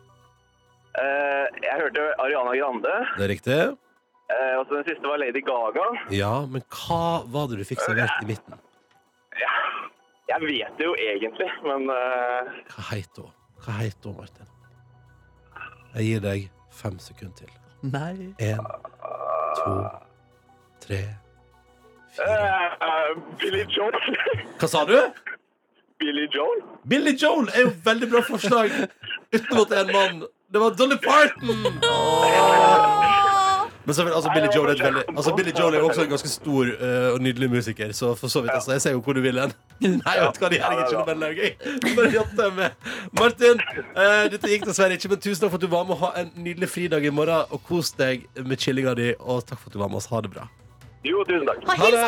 J: Eh, jeg hørte Ariana Grande,
B: Det er riktig?
J: eh, og så den siste var Lady Gaga.
B: Ja, men hva var det du fikk servert i midten?
J: Jeg vet det jo egentlig, men eh,
B: Hva heter hun? Hva heter hun, Martin? Jeg gir deg fem sekunder til.
F: Nei.
B: En, to, tre, fire
J: eh, eh, Billy Joel.
B: Hva sa du?
J: Billy Joel?
B: Billy Joel er jo et veldig bra forslag
F: Mm.
B: Uten at det er en mann Det var Dolly Parton Men så, er vel- altså, Billy Joel er, et veldig, altså, Billy Joel er jo også en ganske stor eh, og nydelig musiker, så for så vidt, altså, jeg ser jo hvor du vil hen. Nei, vet du hva, det gjør jeg ikke, men det er gøy. Bare jatt deg med. Martin, eh, dette gikk dessverre ikke, men tusen takk for at du var med. Ha en nydelig fridag i morgen, og kos deg med chillinga di, og takk for at du var med oss. Ha det bra.
K: Jo, tusen takk.
B: Ha det!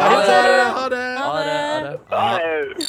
E: Ha det!
B: Ha det!
J: eh,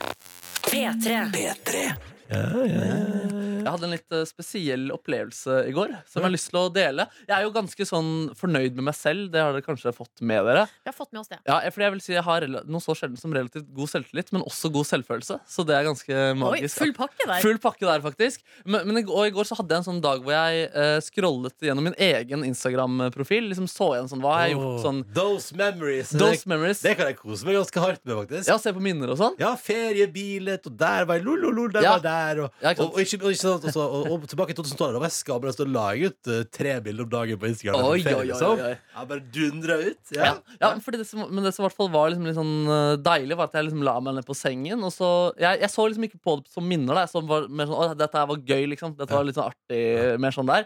A: P3.
F: Jeg hadde en litt eh, spesiell opplevelse i går som
B: Mm.
F: jeg har lyst til å dele. Jeg er jo ganske sånn fornøyd med meg selv. Det har dere kanskje fått med dere.
D: Vi har fått med oss det.
F: Ja, jeg- fordi jeg vil si jeg har rela- noe så sjelden som relativt god selvtillit, men også god selvfølelse. Så det er ganske magisk.
D: full pakke der.
F: Full pakke der, faktisk. Men, men i, går- og i går så hadde jeg en sånn dag hvor jeg eh, scrollet gjennom min egen Instagram-profil. Liksom så igjen sånn, hva har jeg gjort
B: Åh,
F: sånn
B: Those memories.
F: Those
B: det,
F: memories.
B: det kan jeg kose meg ganske hardt med, faktisk.
F: Ja, se på minner og sånn.
B: Ja, feriebilett, og der var jeg lol, lol, lol, der
F: Ja.
B: var jeg der. Og,
F: Ja, ikke sant.
B: og, og, ikke, og, ikke sant, også, og, og tilbake i 2012 da var jeg skabra og la jeg ut eh, tre bilder om dagen på Instagram.
F: Oi,
B: etter ferie,
F: oi, oi,
B: liksom.
F: oi, oi.
B: Jeg bare dundra ut. Ja.
F: Ja, ja fordi det som, men det som i hvert fall var liksom litt sånn eh, deilig, var at jeg liksom la meg ned på sengen. Og så, jeg, jeg så liksom ikke på det som minner. Da. Jeg så bare mer sånn, Å, dette her var gøy, liksom. Dette var litt sånn artig. Mer sånn der.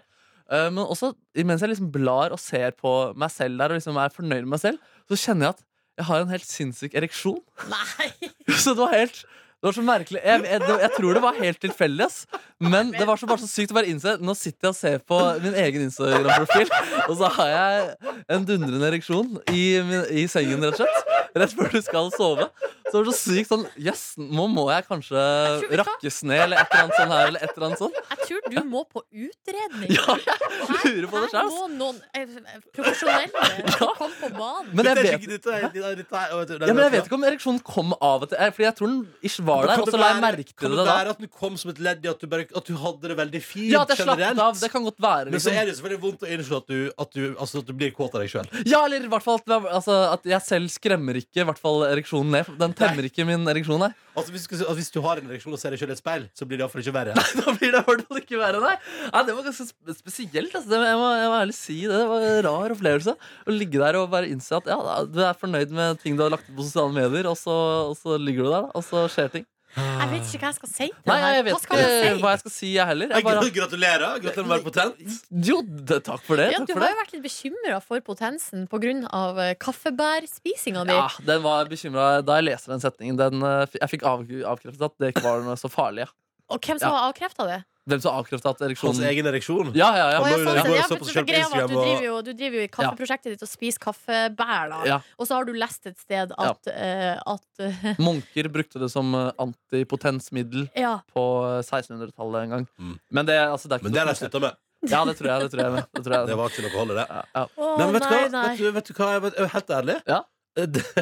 F: Eh, men også mens jeg liksom blar og ser på meg selv der og liksom er fornøyd med meg selv, så kjenner jeg at jeg har en helt sinnssyk ereksjon. Så det var helt det var så merkelig. Jeg, jeg, det- jeg tror det var helt tilfeldig. ass. Men det var så, bare så sykt å bare innse Nå sitter jeg og ser på min egen Instagram-profil, og så har jeg en dundrende ereksjon i, min, i sengen, rett og slett. Rett før du skal sove. Så det var så sykt sånn Yes, nå må jeg kanskje
D: tror vi kan-
F: rakkes ned, eller et eller annet sånt her, eller et eller annet sånn. sånt.
D: Jeg tror du må på utredning.
F: Ja, jeg lurer på det
D: Her
F: selv, ass.
D: må noen eh, profesjonelle komme på banen.
F: Men jeg
B: Dette er
F: vet
B: ikke- dette er- dette er- dette er- vet du, det er-
F: ja, men jeg vet ikke om ereksjonen kom av at Fordi jeg tror den ikke var der, og så la jeg
B: være- kan
F: merke til
B: det
F: det da.
B: være at du kom som et ledd i at du, bare, at du hadde det veldig fint
F: Ja, at jeg slappet
B: generelt?
F: av. Det kan godt være.
B: Men så
F: Liksom.
B: er det jo selvfølgelig vondt å innse at du, at du, altså, at du blir kåt av deg sjøl.
F: Ja, eller i hvert fall at, altså, at jeg selv skremmer ikke i hvert fall ereksjonen ned. Den temmer ikke min ereksjon, nei.
B: Altså, hvis, du skal- altså, hvis du har en ereksjon og ser deg sjøl i et speil, så blir det iallfall ikke verre.
F: Da blir det i hvert fall ikke verre, nei. Ja, det var ganske sp- spesielt. Altså. Det, jeg, må, jeg må ærlig si det. Det var en rar opplevelse å ligge der og bare innse at ja, da, du er fornøyd med ting du har lagt ut på sosiale medier, og så, og så ligger du der, da, og så skjer ting.
D: Jeg vet ikke hva jeg skal si til
F: Nei,
D: det her.
F: jeg vet
D: hva skal jeg
F: ikke
D: si?
F: hva jeg skal si, jeg heller. Jeg bare,
B: Gratulerer. Gratulerer med å være potent.
F: jo, det, takk for det.
D: Ja,
F: Takk
D: du
F: for
D: har
F: det.
D: jo vært litt bekymra for potensen pga. eh, kaffebærspisinga di.
F: Ja, den var bekymret da jeg leste den setningen. Den, eh, f- jeg fikk av, avkreftet at det ikke var noe så farlig. Ja.
D: Og hvem som
F: Ja.
D: har avkrefta det?
F: Hvem som avkreftet
B: Hans
F: at ereksjonen
B: egen ereksjon.
F: Sånn- Ja, ja, ja.
B: Han
D: Å, ja,
B: lå jo
D: sånn
B: der i går
D: sett.
B: og
D: ja,
B: så
D: men
B: på
D: så
B: seg på
D: greia var at
B: Instagram
D: du
B: og-
D: driver, jo, du driver jo i kaffeprosjektet ditt og spiser kaffebær, da.
F: Ja.
D: Og så har du lest et sted at, eh, at eh,
F: Munker brukte det som eh, antipotensmiddel
D: Ja.
F: på eh, 1600-tallet en gang.
B: Mm.
F: Men det, altså, det er ikke
B: Men det har
F: noe-
B: jeg slutta med.
F: Ja, det tror jeg. Det tror jeg, det tror jeg.
B: Det var ikke noe å holde, det.
F: ja, ja.
D: Å,
B: Nei, men vet, du
D: nei,
B: hva?
D: nei.
B: Vet, du, vet du hva? Jeg vet- jeg er Helt ærlig. Eh,
F: Ja.
B: Det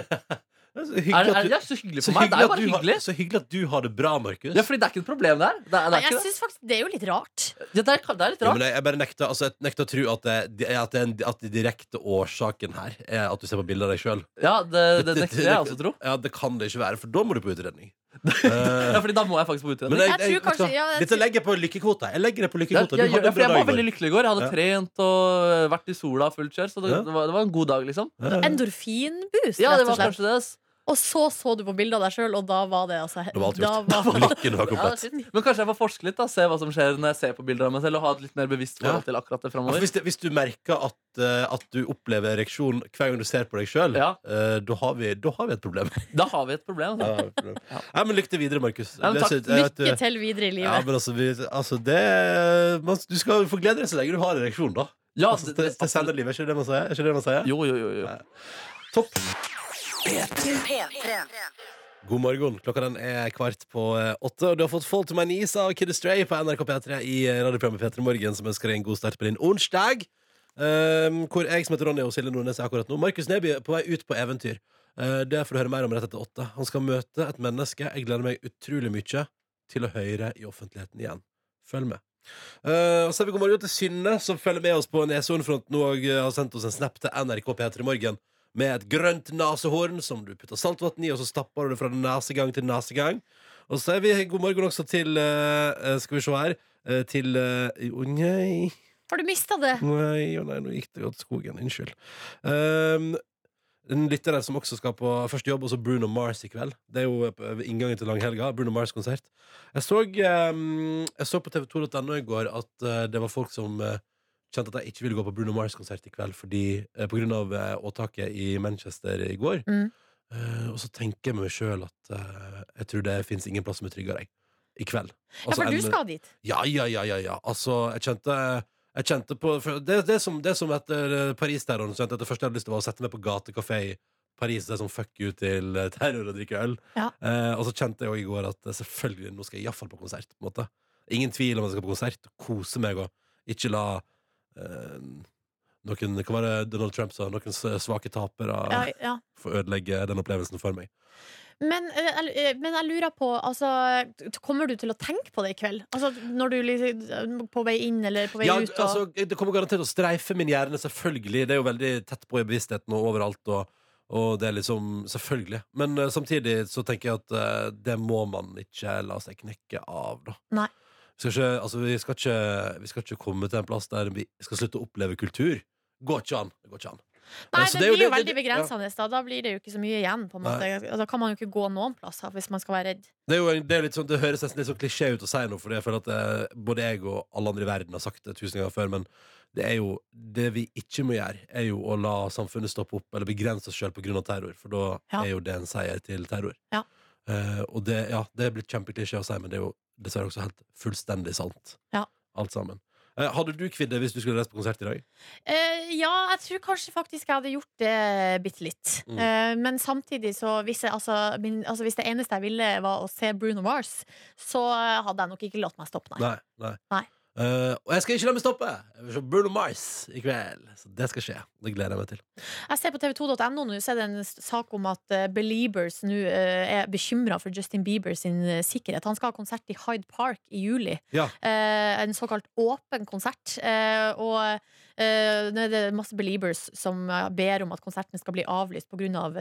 B: det er så hyggelig
F: Er,
B: at
F: er,
B: du-
F: ja, så hyggelig
B: så
F: for meg. Det er
B: hyggelig at
F: jo bare
B: du har-
F: hyggelig.
B: Så hyggelig at du har det bra, Markus.
F: Ja, fordi det er ikke et problem der. Det er, det
D: Nei,
F: er,
D: jeg
F: ikke det.
D: syns faktisk det er jo litt rart.
F: Ja, det, er, det er litt
B: Ja, men
F: rart.
B: jeg, jeg bare nekter, altså, jeg nekter å tro at, det, at, det er en, at den direkte årsaken her er at du ser på bilder av deg sjøl.
F: Ja, det, det nekter jeg også å tro.
B: Ja, det kan det ikke være, for da må du på utredning. Eh,
F: Ja, fordi da må jeg faktisk på
B: Men
F: utredning.
B: jeg,
D: Jeg tror
B: jeg, vet du
D: kanskje-
B: hva?
D: ja, jeg
B: Dette
D: tror-
B: legger jeg på lykkekvota. Jeg legger det på
F: Ja,
B: lykkekvota. Du
F: jeg, gjør
B: hadde en
F: det, for
B: bra
F: jeg
B: dag i
F: var
B: går.
F: veldig lykkelig i går. Jeg hadde
B: Ja.
F: trent og eh, vært i sola fullt kjør, så det,
B: Ja.
F: det, var, det var en god dag, liksom.
B: Ja, ja.
D: Endorfinboost,
F: Ja,
D: rett
F: det
D: og
F: var
D: slett.
F: kanskje det. ass.
D: Og så så du på bildet av deg sjøl, og da var det altså
B: Det var alt
D: da var-
B: gjort. Lykken var
F: Ja, det
B: komplett.
F: er fint. Men kanskje jeg får forske litt, da. Se hva som skjer når jeg ser på bilder av meg selv, og ha et litt mer bevisst
B: Ja.
F: forhold til akkurat
B: Ja,
F: det
B: for
F: framover.
B: Altså, hvis, det, hvis du merker at, eh, at du opplever ereksjon hver gang du ser på deg sjøl,
F: Ja.
B: da, har vi- da har vi et problem.
F: Da har vi et problem. altså.
B: Ja,
F: Da.
B: Nei, men lykke til videre, Markus.
F: Ja, men
B: Det
F: takk.
B: synes jeg at du-
D: Lykke til videre
B: Ja,
D: i livet.
B: men altså, vi, altså det man, Du skal få glede deg så lenge du har ereksjon, da.
F: Ja,
B: Altså,
F: det-
B: til,
F: det-
B: til senere livet, er ikke det man sier? Er ikke det man sier?
F: Jo, jo, jo, jo.
B: Topp. God morgen. Klokka den er kvart på eh, åtte, og du har fått Fall to my knees av Kid Astray på NRK P3 i eh, radioprogrammet P3 Morgen, som ønsker deg en god start på din onsdag. Ehm, hvor jeg som heter Ronny og Silje Nordnes er akkurat nå. Markus Neby er på vei ut på eventyr. Eh, det får du høre mer om rett etter åtte. Han skal møte et menneske jeg gleder meg utrolig mye til å høre i offentligheten igjen. Følg med. Eh, og så er vi god morgen til Synne, som følger med oss på Nesodden-fronten og eh, har sendt oss en snap til NRK P3 Morgen med et grønt nesehorn som du putter saltvann i, og så stapper du det fra nesegang til nesegang. Og så er vi god morgen også til eh, eh, Skal vi se her. eh, Til eh, Å nei,
D: Har du mista det?
B: nei, å nei, nå gikk det jo til skogen. Unnskyld. Um, en lytter der som også skal på første jobb, også Bruno Mars i kveld. Det er jo eh, på- ved inngangen til langhelga. Bruno Mars-konsert. ehm, Jeg så, eh, jeg så på tv2.no i går at eh, det var folk som eh, kjente at jeg ikke ville gå på Bruno Mars-konsert i kveld fordi, eh, på grunn av eh, åtaket i Manchester i går.
D: Mm.
B: Eh, og så tenker jeg med meg sjøl at eh, jeg tror det fins ingen plass som er tryggere jeg, i kveld. Altså,
D: Ja, for
B: enn-
D: du skal dit.
B: Ja, ja, ja, ja, ja. Altså, jeg kjente jeg kjente på, for det, det, som, det som etter eh, Paris-terroren så kjente jeg at Det første jeg hadde lyst til var å sette meg på gatekafé i Paris. Det er sånn fuck you til eh, terror og drikke øl.
G: Ja.
B: Eh, og så kjente jeg jo i går at eh, selvfølgelig, nå skal jeg iallfall på konsert. på en måte Ingen tvil om at jeg skal på konsert. Kose meg og ikke la eh, noen Hva var det Donald Trump sa? Noen s- svake tapere
D: Ja, ja.
B: få ødelegge den opplevelsen for meg.
D: Men, eh, jeg- eh, men jeg lurer på altså, t- Kommer du til å tenke på det i kveld? Altså, når du liksom, På vei inn eller på vei
B: Ja,
D: ut? Og,
B: altså, det kommer garantert å streife min hjerne, selvfølgelig. Det er jo veldig tett på i bevisstheten og overalt. Og, og det er liksom Selvfølgelig. Men eh, samtidig så tenker jeg at eh, det må man ikke la seg knekke av, da.
D: Nei.
B: Vi skal, ikke, altså, vi, skal ikke, vi skal ikke komme til en plass der vi skal slutte å oppleve kultur. Går ikke an. Det går ikke an.
D: nei,
B: Eh, så
D: det,
B: er
D: blir jo
B: det- det-
D: veldig begrensende. Da. da blir det jo ikke så mye igjen. På en måte. Altså, Da kan man jo ikke gå noen plass da, hvis man skal være redd.
B: Det, er jo, en- det, er litt sånn, det høres nesten litt sånn klisjé ut å si noe, for jeg føler at eh, både jeg og alle andre i verden har sagt det tusen ganger før, men det er jo det vi ikke må gjøre, er jo å la samfunnet stoppe opp eller begrense oss sjøl pga. terror, for da
D: Ja.
B: er jo det en seier til terror.
D: Ja.
B: Eh, og det, ja, det er blitt kjempeklisjé å si, men det er jo dessverre også helt fullstendig sant,
D: Ja.
B: alt sammen. Eh, hadde du kvidd deg hvis du skulle reist på konsert i dag?
D: Eh, ja, jeg tror kanskje faktisk jeg hadde gjort det bitte litt.
B: Mm.
D: Eh, men samtidig, så hvis, jeg, altså, min, altså, hvis det eneste jeg ville var å se Bruno Mars, så eh, hadde jeg nok ikke latt meg stoppe, nei.
B: Nei. nei.
D: Nei.
B: Eh, og jeg skal ikke la meg stoppe! Jeg vil se Bruno Mars i kveld. Så det skal skje. Det gleder jeg meg til.
D: Jeg ser på tv2.no nå, så er det en s- sak om at eh, Beliebers nå eh, er bekymra for Justin Bieber sin eh, sikkerhet. Han skal ha konsert i Hyde Park i juli.
B: Ja.
D: Eh, en såkalt åpen konsert. Eh, og eh, nå er det masse Beliebers som eh, ber om at konserten skal bli avlyst pga. Av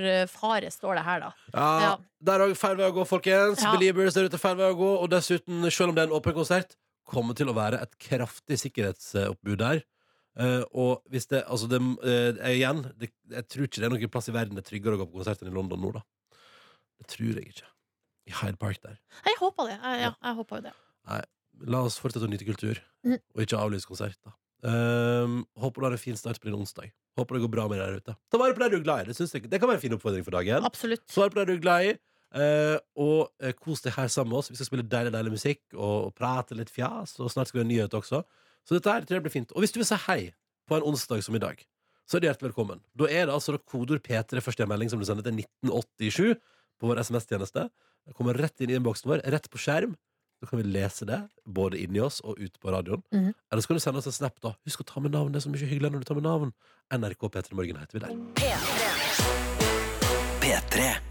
D: terrorfare, står det her, da.
B: Ja,
D: Ja.
B: Der er feil vei å gå, folkens.
D: Ja.
B: Beliebers der ute er feil vei å gå. Og dessuten, selv om det er en åpen konsert, kommer til å være et kraftig sikkerhetsoppbud der. Eh, og hvis det Altså, det, eh, igjen, det, jeg tror ikke det er noen plass i verden det er tryggere å gå på konsert enn i London nå, da. Det tror jeg ikke. I Hyde Park der.
D: Jeg håper det. Jeg, ja, jeg håper jo det.
B: La oss fortsette å nyte kultur,
D: Mm.
B: og ikke avlyse konserter. Um, håper du har en fin start på din onsdag. Håper det går bra med deg der ute. Ta vare på deg du er glad i. Det, synes jeg, det kan være en fin oppfordring for dagen.
D: Absolutt.
B: Svar på det du er glad i. eh, og eh, kos deg her sammen med oss. Vi skal spille deilig deilig musikk og prate litt fjas. Og snart skal vi ha nyhet også. Så dette her tror jeg blir fint. Og hvis du vil si hei på en onsdag som i dag, så er du hjertelig velkommen. Da er det altså da kodeord P3 først i en melding som du sender til 1987 på vår SMS-tjeneste. Det kommer rett inn i innboksen vår, rett på skjerm. Da kan vi lese det, både inni oss og ut på radioen.
D: Mhm.
B: Eller så kan du sende oss en snap, da. Husk å ta med navn. Det er så mye hyggeligere når du tar med navn. NRK P3 Morgen heter vi der.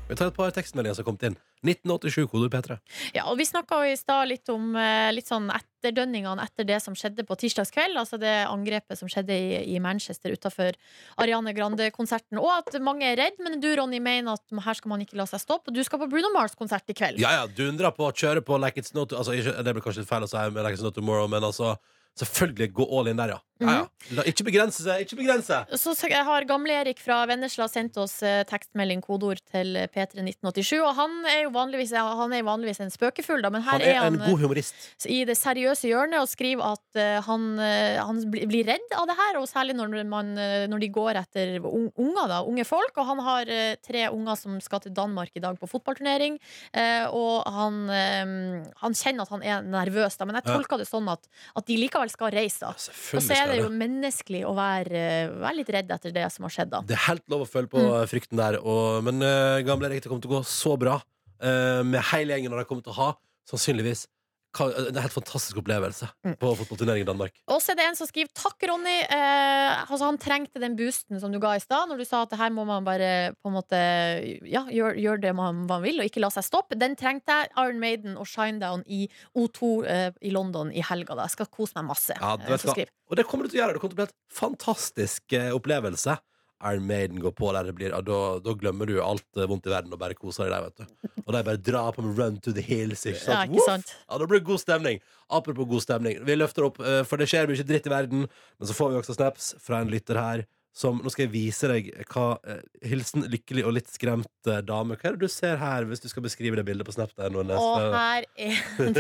B: Vi tar et par tekstmeldinger som har kommet inn. 1987, kodeord P3.
D: Ja, og Vi snakka i stad litt om eh, litt sånn etterdønningene etter det som skjedde på tirsdagskveld. Altså det angrepet som skjedde i, i Manchester utafor Ariane Grande-konserten. Og at mange er redd, men du Ronny, mener at her skal man ikke la seg stoppe. Og du skal på Bruno Mars-konsert i kveld.
B: Ja, ja, dundra på, kjøre på like it's not altså, ikke, Det blir kanskje litt feil å si med like it's not tomorrow, men altså Selvfølgelig gå all in der, ja. ja, ja.
D: Mhm.
B: La, ikke begrense seg, ikke begrense!
D: Så så jeg har Gamle-Erik fra Vennesla sendt oss eh, tekstmelding kodeord til P31987. Og han er jo vanligvis, ja, han er vanligvis en spøkefull, da, men her
B: Han er en
D: eh,
B: god humorist.
D: i det seriøse hjørnet og skriver at eh, han, eh, han bli- blir redd av det her, og særlig når, man, eh, når de går etter un- unger, da, unge folk. Og han har eh, tre unger som skal til Danmark i dag på fotballturnering, eh, og han, eh, han kjenner at han er nervøs, da, men jeg
B: Ja.
D: tolker det sånn at, at de likevel skal reise, da. Og
B: Selvfølgelig
D: så er
B: skal
D: det
B: det.
D: jo menneskelig å være, eh, være litt redd etter det som har skjedd, da. Mhm.
B: Det er helt lov å føle på eh, frykten der. Og, men eh, gamle Erik, det kommer til å gå så bra eh, med hele gjengen når de kommer til å ha, sannsynligvis, ka- eh, en helt fantastisk opplevelse
D: Mm.
B: på fotballturnering i Danmark.
D: Og så er det en som skriver Takk, Ronny. Eh, altså, han trengte den boosten som du ga i stad, når du sa at det her må man bare på en måte Ja, gjør, gjør det man, man vil, og ikke la seg stoppe. Den trengte jeg. Iron Maiden og Shinedown i O2 eh, i London i helga. Da. Jeg skal kose meg masse.
B: Ja, det
D: eh,
B: vet
D: som
B: du hva.
D: skriver.
B: Og det kommer du til å gjøre. Det kommer til å bli et fantastisk eh, opplevelse. Iron Maiden går på der det blir ja, da, da glemmer du alt eh, vondt i verden og bare koser deg der, vet du. Og de bare drar på med Run to the Hills. Ikke sant?
D: Ja, ikke
B: Woof!
D: sant?
B: Ja, da blir det god stemning. Apropos god stemning. Vi løfter opp, eh, for det skjer mye dritt i verden. Men så får vi også snaps fra en lytter her som Nå skal jeg vise deg hva eh, Hilsen lykkelig og litt skremt eh, dame. Hva er det du ser her, hvis du skal beskrive det bildet på Snap? Der, nå, Nes?
G: Og her er
D: eh,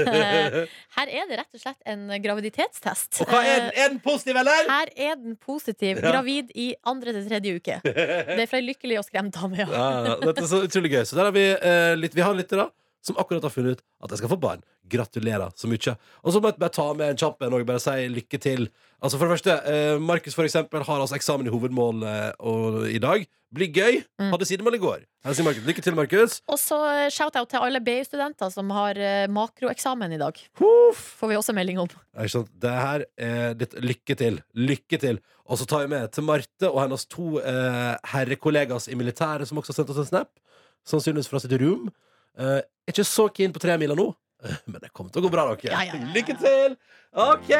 G: det Her er det rett og slett en graviditetstest.
B: Og hva er
D: Eh,
B: den? Er den positiv, eller?
G: Her er den positiv.
B: Ja.
G: Gravid i andre til tredje uke. Det er fra ei lykkelig og skremt dame, ja.
B: ja, ja. Dette er så utrolig gøy. Så der har vi, eh, litt, vi har lyttere som akkurat har funnet ut at jeg skal få barn. Gratulerer så mye. Og så må jeg bare ta med en kjapp en og bare si lykke til. Altså For det første, eh, Markus for eksempel har altså eksamen i hovedmål eh, og, i dag. Blir gøy. Hadde sidemål i går. Her sier Markus. Lykke til, Markus.
G: Og så eh, shout-out til alle BU-studenter som har eh, makroeksamen i dag. Får vi også melding om.
B: Ja, Ikke sant? Det her er litt lykke til. Lykke til. Og så tar jeg med til Marte og hennes to eh, herrekollegas i militæret, som også har sendt oss en snap, sannsynligvis fra sitt rom. Eh, er ikke så keen på tremiler nå, men det kommer til å gå bra, dere.
E: Ja, ja, ja, ja.
B: Lykke til! OK!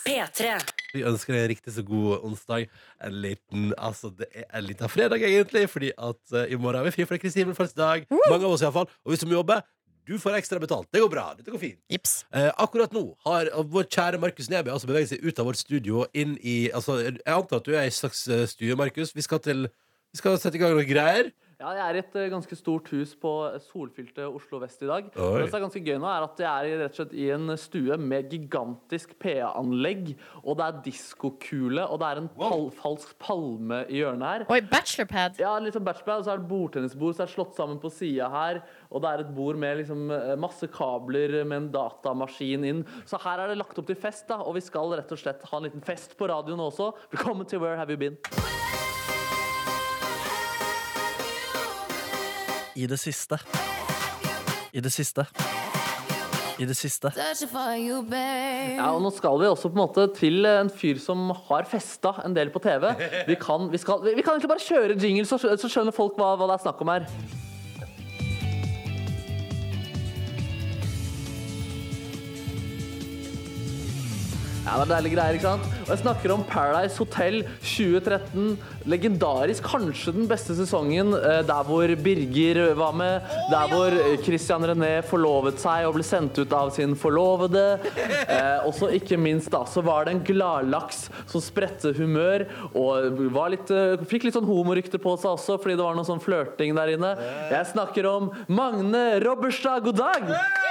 A: P3.
B: Vi ønsker deg en riktig så god onsdag. En liten, altså Det er en liten fredag, egentlig, fordi at eh, i morgen er vi fri for Kristine Fulls dag. Mange av oss, iallfall. Og hvis du må jobbe, du får ekstra betalt. Det går bra. Dette går fint. Eh, akkurat nå har vår kjære Markus Neby altså beveget seg ut av vårt studio og inn i altså, Jeg antar at du er i en slags eh, stue, Markus. Vi skal, til, vi skal sette i gang noen greier.
F: Ja, jeg er i et eh, ganske stort hus på solfylte Oslo vest i dag.
B: Oi.
F: Men Det som er ganske gøy nå, er at jeg er i- rett og slett i en stue med gigantisk PA-anlegg, og det er diskokule, og det er en pal falsk palme i hjørnet her.
G: Oi, bachelorpad.
F: Ja, litt sånn bachelorpad, og så er det bordtennisbord, så er det slått sammen på sida her, og det er et bord med liksom eh, masse kabler med en datamaskin inn. Så her er det lagt opp til fest, da, og vi skal rett og slett ha en liten fest på radioen også. Velkommen til Where Have You Been?
L: I det siste. I det siste. I det siste.
F: Ja, og nå skal vi også på en måte til en fyr som har festa en del på TV. Vi kan, vi skal, vi kan egentlig bare kjøre jingle, så, skjø- så skjønner folk hva, hva det er snakk om her. Ja, det er deilige greier, ikke sant? Og jeg snakker om Paradise Hotel 2013. Legendarisk. Kanskje den beste sesongen. eh, Der hvor Birger var med. Der hvor Christian René forlovet seg og ble sendt ut av sin forlovede. Eh, Og så ikke minst da, så var det en gladlaks som spredte humør og var litt, eh, fikk litt sånn homorykte på seg også fordi det var noe sånn flørting der inne. Jeg snakker om Magne Robberstad. God dag!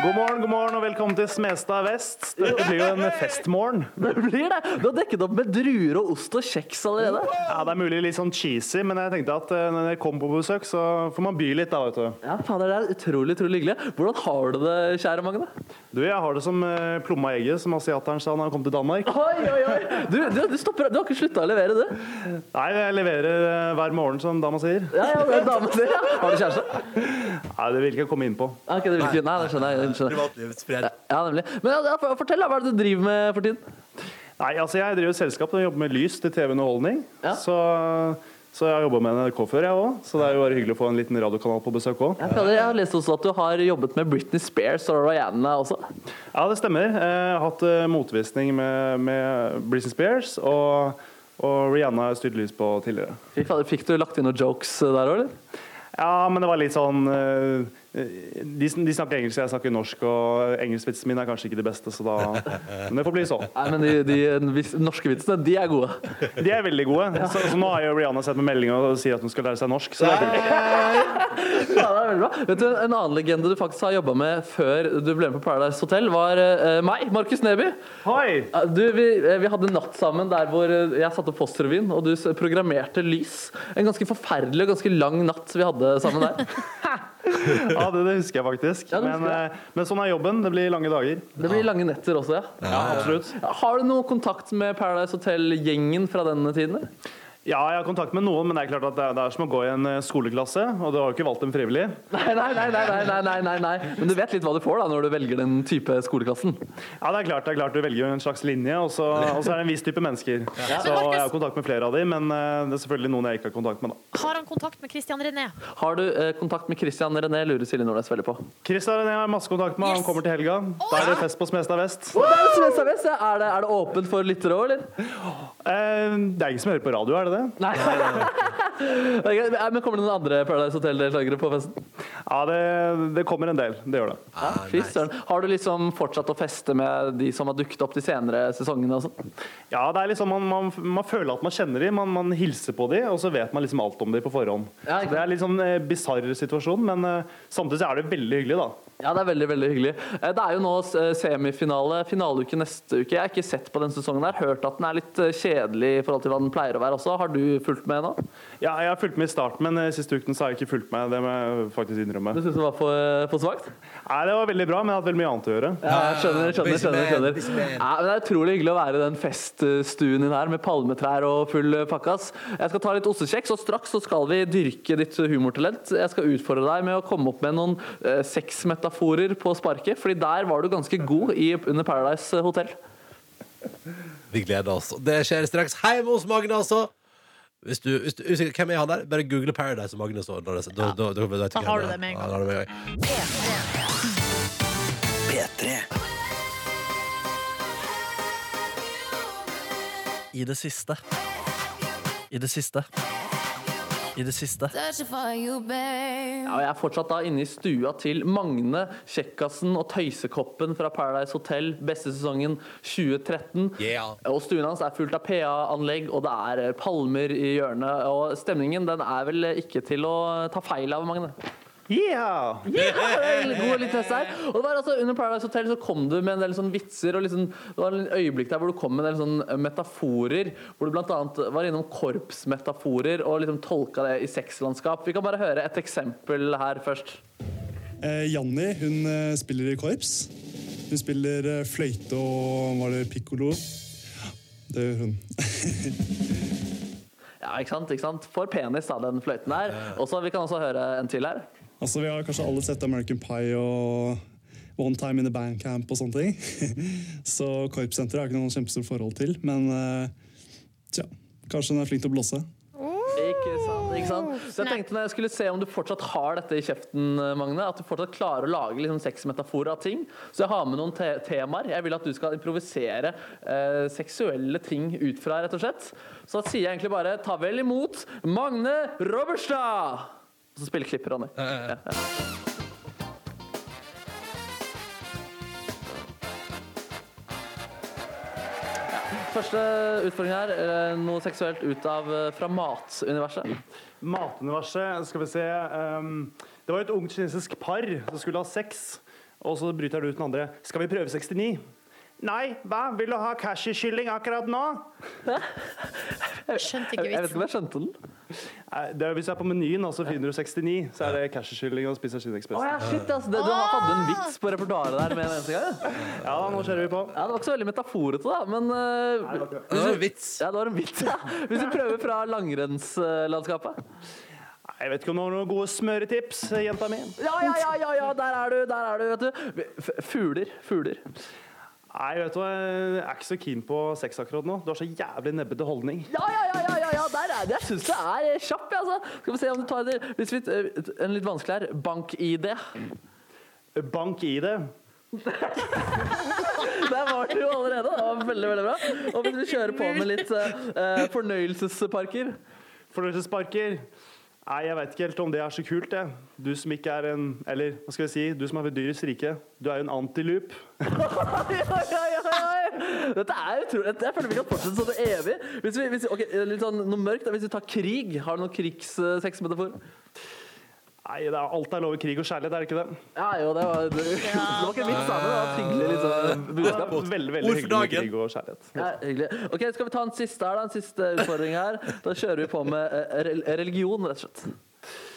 J: God morgen, god morgen og velkommen til Smestad vest. Dette blir jo en festmorgen.
F: Det blir det. Du har dekket opp med druer og ost og kjeks allerede.
J: Ja, Det er mulig litt sånn cheesy, men jeg tenkte at eh, når jeg kom på besøk, så får man by litt, da, vet du.
F: Ja, fader, det er utrolig, utrolig hyggelig. Hvordan har du det, kjære Magne?
J: Du, jeg har det som eh, plomma i egget, som asiateren sa da han kom til Danmark.
F: Oi, oi, oi! Du, du, du stopper, du har ikke slutta å levere, du?
J: Nei, jeg leverer eh, hver morgen, som dama sier.
F: Ja, ja, det er dama sier, ja. Har du kjæreste?
J: Nei, det vil ikke jeg komme inn på.
F: Ok, det vil ikke, nei, det skjønner jeg. det skjønner jeg. Ja, nemlig. Men ja, for- fortell, da, hva er det du driver med for tiden?
J: Nei, altså jeg driver et selskap og jobber med lys til TV-underholdning. Så, Eh, så jeg har jobba med NRK før, jeg òg. Så det er jo bare hyggelig å få en liten radiokanal på besøk òg.
F: Ja, fader, Jeg har lest også at du har jobbet med Britney Spears og Rihanna også.
J: Ja, det stemmer. Eh, Jeg har hatt eh, motvisning med, med Britney Spears, og, og Rihanna har jeg styrt lys på tidligere.
F: Fy fader, Fikk du lagt inn noen jokes eh, der òg, eller?
J: Ja, men det var litt sånn eh, de, sn- de snakker engelsk, jeg snakker norsk, og engelskvitsen min er kanskje ikke det beste, så da Men det får bli sånn.
F: Nei, men de, de vis- norske vitsene, de er gode.
J: De er veldig gode. Så, så nå har jo Rihanna sett med meldinga og sier at hun skal lære seg norsk, så det er kult.
F: Ja, det er veldig bra. Vet du, En annen legende du faktisk har jobba med før du ble med på Paradise Hotel, var eh, meg, Markus Neby. Eh, Du, vi, eh, vi hadde natt sammen der hvor eh, jeg satte opp Postrevyen, og du s- programmerte lys. En ganske forferdelig og ganske lang natt vi hadde sammen der.
J: Ja, det, det husker jeg faktisk.
F: det
J: men,
F: husker
J: eh, men sånn er jobben. Det blir lange dager.
F: Det blir lange netter også, ja.
J: Ja, absolutt.
F: Har du noe kontakt med Paradise Hotel-gjengen fra denne tiden? eller?
J: Ja, jeg har kontakt med noen, men det er klart at det er, det er som å gå i en eh, skoleklasse, og du har jo ikke valgt dem frivillig.
F: Nei, nei, nei, nei, nei, nei, nei, nei. Men du vet litt hva du får da når du velger den type skoleklassen.
J: Ja, det er klart, det er klart du velger jo en slags linje, og så, og så er det en viss type mennesker.
F: Ja.
J: Så jeg har kontakt med flere av dem, men eh, det er selvfølgelig noen jeg ikke har kontakt med, da.
G: Har han kontakt med Christian René?
F: Har du eh, kontakt med Christian René, lurer Silje Nordnes veldig på.
J: Kristian jeg har masse kontakt med, han kommer til helga. Da er det fest på Smestad vest.
F: Å, det er jo som jeg sa, Vest, ja. Er det, er det åpent for lyttere òg, eller?
J: Eh, Det er ingen som hører på radio, er det det?
F: Nei. Ok, Men Kommer det noen andre Paradise Hotel-deltakere på festen?
J: Ja, det, kommer en del. Det gjør det.
F: Fy søren. Har du liksom fortsatt å feste med de som har dukket opp de senere sesongene? og sånn?
J: Ja, det er liksom man, man, man føler at man kjenner dem, man, man hilser på dem, og så vet man liksom alt om dem på forhånd. Så det er litt sånn eh, bisarr situasjon, men eh, samtidig så er det veldig hyggelig, da.
F: Ja, det er veldig veldig hyggelig. Eh, Det er jo nå eh, semifinale, finaleuke neste uke. Jeg har ikke sett på den sesongen her. Hørt at den er litt eh, kjedelig i forhold til hva den pleier å være også. Har du fulgt med nå?
J: Ja, jeg har fulgt med i starten, men eh, siste uken så har jeg ikke fulgt med. Det må jeg faktisk innrømme.
F: Du syns det var for, eh, for svakt?
J: Nei, det var veldig bra, men jeg har hatt veldig mye annet å gjøre.
F: Ja, jeg skjønner, skjønner, skjønner, skjønner. Ja, men det er utrolig hyggelig å være i den feststuen din her med palmetrær og full pakkas. Jeg skal ta litt ostekjeks, og straks så skal vi dyrke ditt humortalent. Jeg skal utfordre deg med å komme opp med noen eh, sexmetaforer på sparket, fordi der var du ganske god i, under Paradise Hotel.
B: Vi gleder oss. Og Det skjer straks hjemme hos Magne, altså. Hvis du, hvis du er usikker hvem er han der, bare google Paradise og Magne. Så, da, da, da, da, da, vet du
E: Da
B: hvem
E: har
B: det
E: du
B: er.
E: det med en gang.
B: Ja, da har du det med en gang.
L: I det siste. I det siste. I det siste.
F: Ja, og jeg er fortsatt da inne i stua til Magne, Kjekkasen og Tøysekoppen fra Paradise Hotel, beste sesongen 2013. Og stuen hans er fullt av PA-anlegg, og det er eh, palmer i hjørnet. Og stemningen den er vel ikke til å ta feil av, Magne.
J: Yeah!
F: God litt fest her. Og det var altså Under Paradise Hotel så kom du med en del sånn vitser og liksom, det var en øyeblikk der hvor du kom med en del sånn metaforer. Hvor du bl.a. var innom korpsmetaforer og liksom tolka det i sexlandskap. Vi kan bare høre et eksempel her først.
M: Eh, Janni hun eh, spiller i korps. Hun spiller eh, fløyte og var det pikkolo? Det gjør hun.
F: Ja, ikke sant? ikke sant? For penis, da, den fløyten der. Og så Vi kan også høre en til her.
M: Altså, Vi har kanskje alle sett American Pie og One Time in the Band Camp og sånne ting. Så korpssenteret har jeg ikke noe kjempestort forhold til. Men eh, tja, kanskje hun er flink til å blåse.
F: Ikke sant? ikke sant? Så jeg tenkte når jeg skulle se om du fortsatt har dette i kjeften, Magne. At du fortsatt klarer å lage liksom sexmetaforer av ting. Så jeg har med noen te temaer. Jeg vil at du skal improvisere eh, seksuelle ting ut fra, rett og slett. Så da sier jeg egentlig bare ta vel imot Magne Robertstad! Og så spiller klippet, Ronny. Første utfordring her. eh, Noe seksuelt ut av eh, fra matuniverset.
J: Matuniverset, skal vi se ehm, Det var et ungt kinesisk par som skulle ha sex, og så bryter han ut den andre. Skal vi prøve 69? Nei, hva? Vil du ha cashew-kylling akkurat nå?
D: Skjønte
J: ikke
F: Jeg vet ikke om jeg skjønte den.
J: Nei, Det er, hvis du er på menyen, altså 469, så er det cashew-kylling og spiser
F: Å
J: skinnekspressen.
F: ja, shit, ass. Det, du hadde en vits på repertoaret der med en eneste gang.
J: Ja, nå kjører vi på.
F: Ja, det var ikke så veldig metaforete, da, men eh,
J: Det var en
B: vits.
F: Ja, det var en vits, ja. Hvis vi prøver fra langrennslandskapet.
J: Nei, Jeg vet ikke om du har noen gode smøretips, jenta mi.
F: Ja, ja, ja, ja, ja, der er du, der er du, vet du. F- Fugler. Fugler.
J: Nei, vet du hva, jeg er ikke så keen på sex akkurat nå. Du har så jævlig nebbete holdning.
F: Ja, ja, ja, ja, ja, ja der er det. Jeg syns det er eh, kjapp, jeg, altså. Skal vi se om du tar det. Hvis vi, eh, en litt vanskelig her. Bank-ID.
J: Bank-ID.
F: Der var du allerede. Det var veldig, veldig bra. Og hvis vi kjører på med litt eh, eh, fornøyelsesparker
J: Fornøyelsesparker? Nei, jeg veit ikke helt om det er så kult, jeg. Du som ikke er en Eller hva skal jeg si? Du som er ved dyrets rike. Du er jo en antiloop.
F: Oi, oi, oi, oi. Dette er utrolig. Jeg føler vi kan fortsette sånn til evig. Hvis vi, hvis, vi- ok, litt sånn noe mørkt, da. hvis vi tar krig, har du noen krigssexmetafor?
J: Nei, det er, alt er lov i krig og kjærlighet, er det ikke det?
F: Ja, jo, det var, det, det var ikke en vits, da, men det var et hyggelig litt sånn budskap.
J: Ja, veldig, veldig hyggelig med krig og kjærlighet.
F: Ja, hyggelig. Ok, Skal vi ta en siste her, da? En siste utfordring her. Da kjører vi på med eh, rel- religion, rett og slett.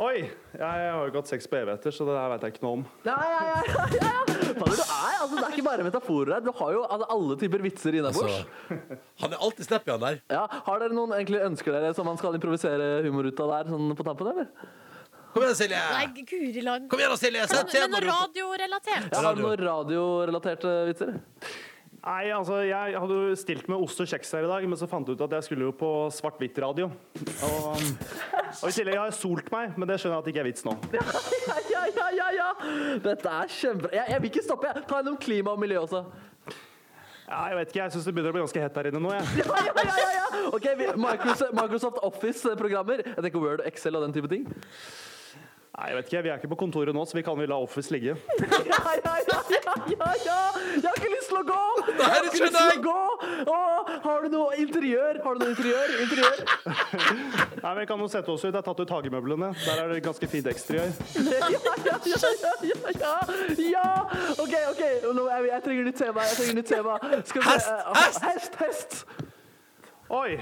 J: Oi! Jeg har jo ikke hatt sex på evigheter, så det her veit jeg ikke noe om.
F: Ja, ja, ja, ja, ja. Fader, du er, altså, det er ikke bare metaforer her. Du har jo altså, alle typer vitser innabords.
B: han er alltid snappy, han der.
F: Ja, har dere noen egentlig ønsker dere som man skal improvisere humor ut av der, sånn på tampen, eller?
B: Kom igjen, Silje!
G: Nei, guri land.
B: Kom igjen da, Silje, sett
G: Men-
B: temaet
G: Men noe
B: du-
G: radiorelatert.
F: Ja, har du noen radiorelaterte vitser?
J: Nei, altså, Jeg hadde jo stilt med ost og kjeks her i dag, men så fant jeg ut at jeg skulle jo på svart-hvitt-radio. Og, um, og i tillegg har jeg solt meg, men det skjønner jeg at det ikke er vits nå.
F: Ja, ja, ja, ja, ja. Dette er kjempebra. Jeg, jeg vil ikke stoppe. jeg. Ta en om klima og miljø også.
J: Ja, jeg vet ikke, jeg syns det begynner å bli ganske hett her inne nå, jeg.
F: Ok, vi, Microsoft, Microsoft Office-programmer. Jeg tenker Word og Excel og den type ting.
J: Nei, jeg vet ikke, Vi er ikke på kontoret nå, så vi kan vel la Office ligge.
F: Ja, ja, ja, ja, ja, ja. Jeg har ikke lyst til å gå! Jeg har ikke lyst til å gå! Åh, har du noe interiør? Har du noe interiør? Interiør?
J: Nei, men Vi kan jo sette oss ut. Jeg har tatt ut hagemøblene. Der er det ganske fint eksteriør.
F: Ja, ja, ja, ja, ja, ja, ja. OK, ok, Nå, jeg, jeg trenger nytt tema. Jeg trenger nytt tema. Skal vi, hest, hest! Hest, hest!
J: Oi!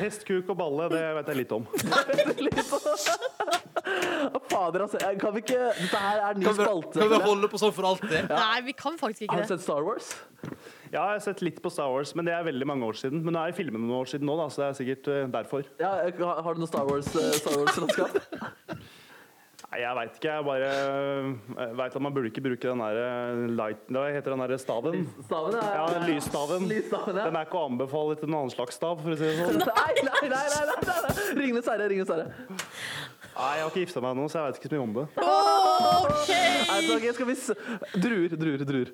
J: Hest, kuk og balle, det vet jeg litt om.
F: Å, Fader, altså. jeg- Kan vi ikke Dette her er ny
J: Kan vi-
F: spalte.
J: kan vi holde
B: på sånn for alltid?
D: Nei, vi kan faktisk ikke det.
F: Star Wars?
J: Ja, jeg har sett litt på Star Wars, men det er veldig mange år siden. Men nå er filmene noen år siden nå, da, så det er sikkert eh, derfor.
F: Ja, har, har du noe Star Wars-landskap?
J: Nei, jeg veit ikke. Jeg bare eh, vet at man burde ikke bruke den der eh, light... Hva heter den der staven?
F: Staven er-
J: Ja, den lysstaven.
F: Lysstaven, ja.
J: Den er ikke å anbefale til en annen slags stav, for å si det
F: Nei,
J: sånn.
F: nei, nei, nei, nei, nei, nei. Ringenes herre, Ringenes herre.
J: Nei, jeg har ikke gifta meg ennå, så jeg veit ikke så mye om det.
F: OK! Nei, så, ok, skal vi s druer, druer, druer.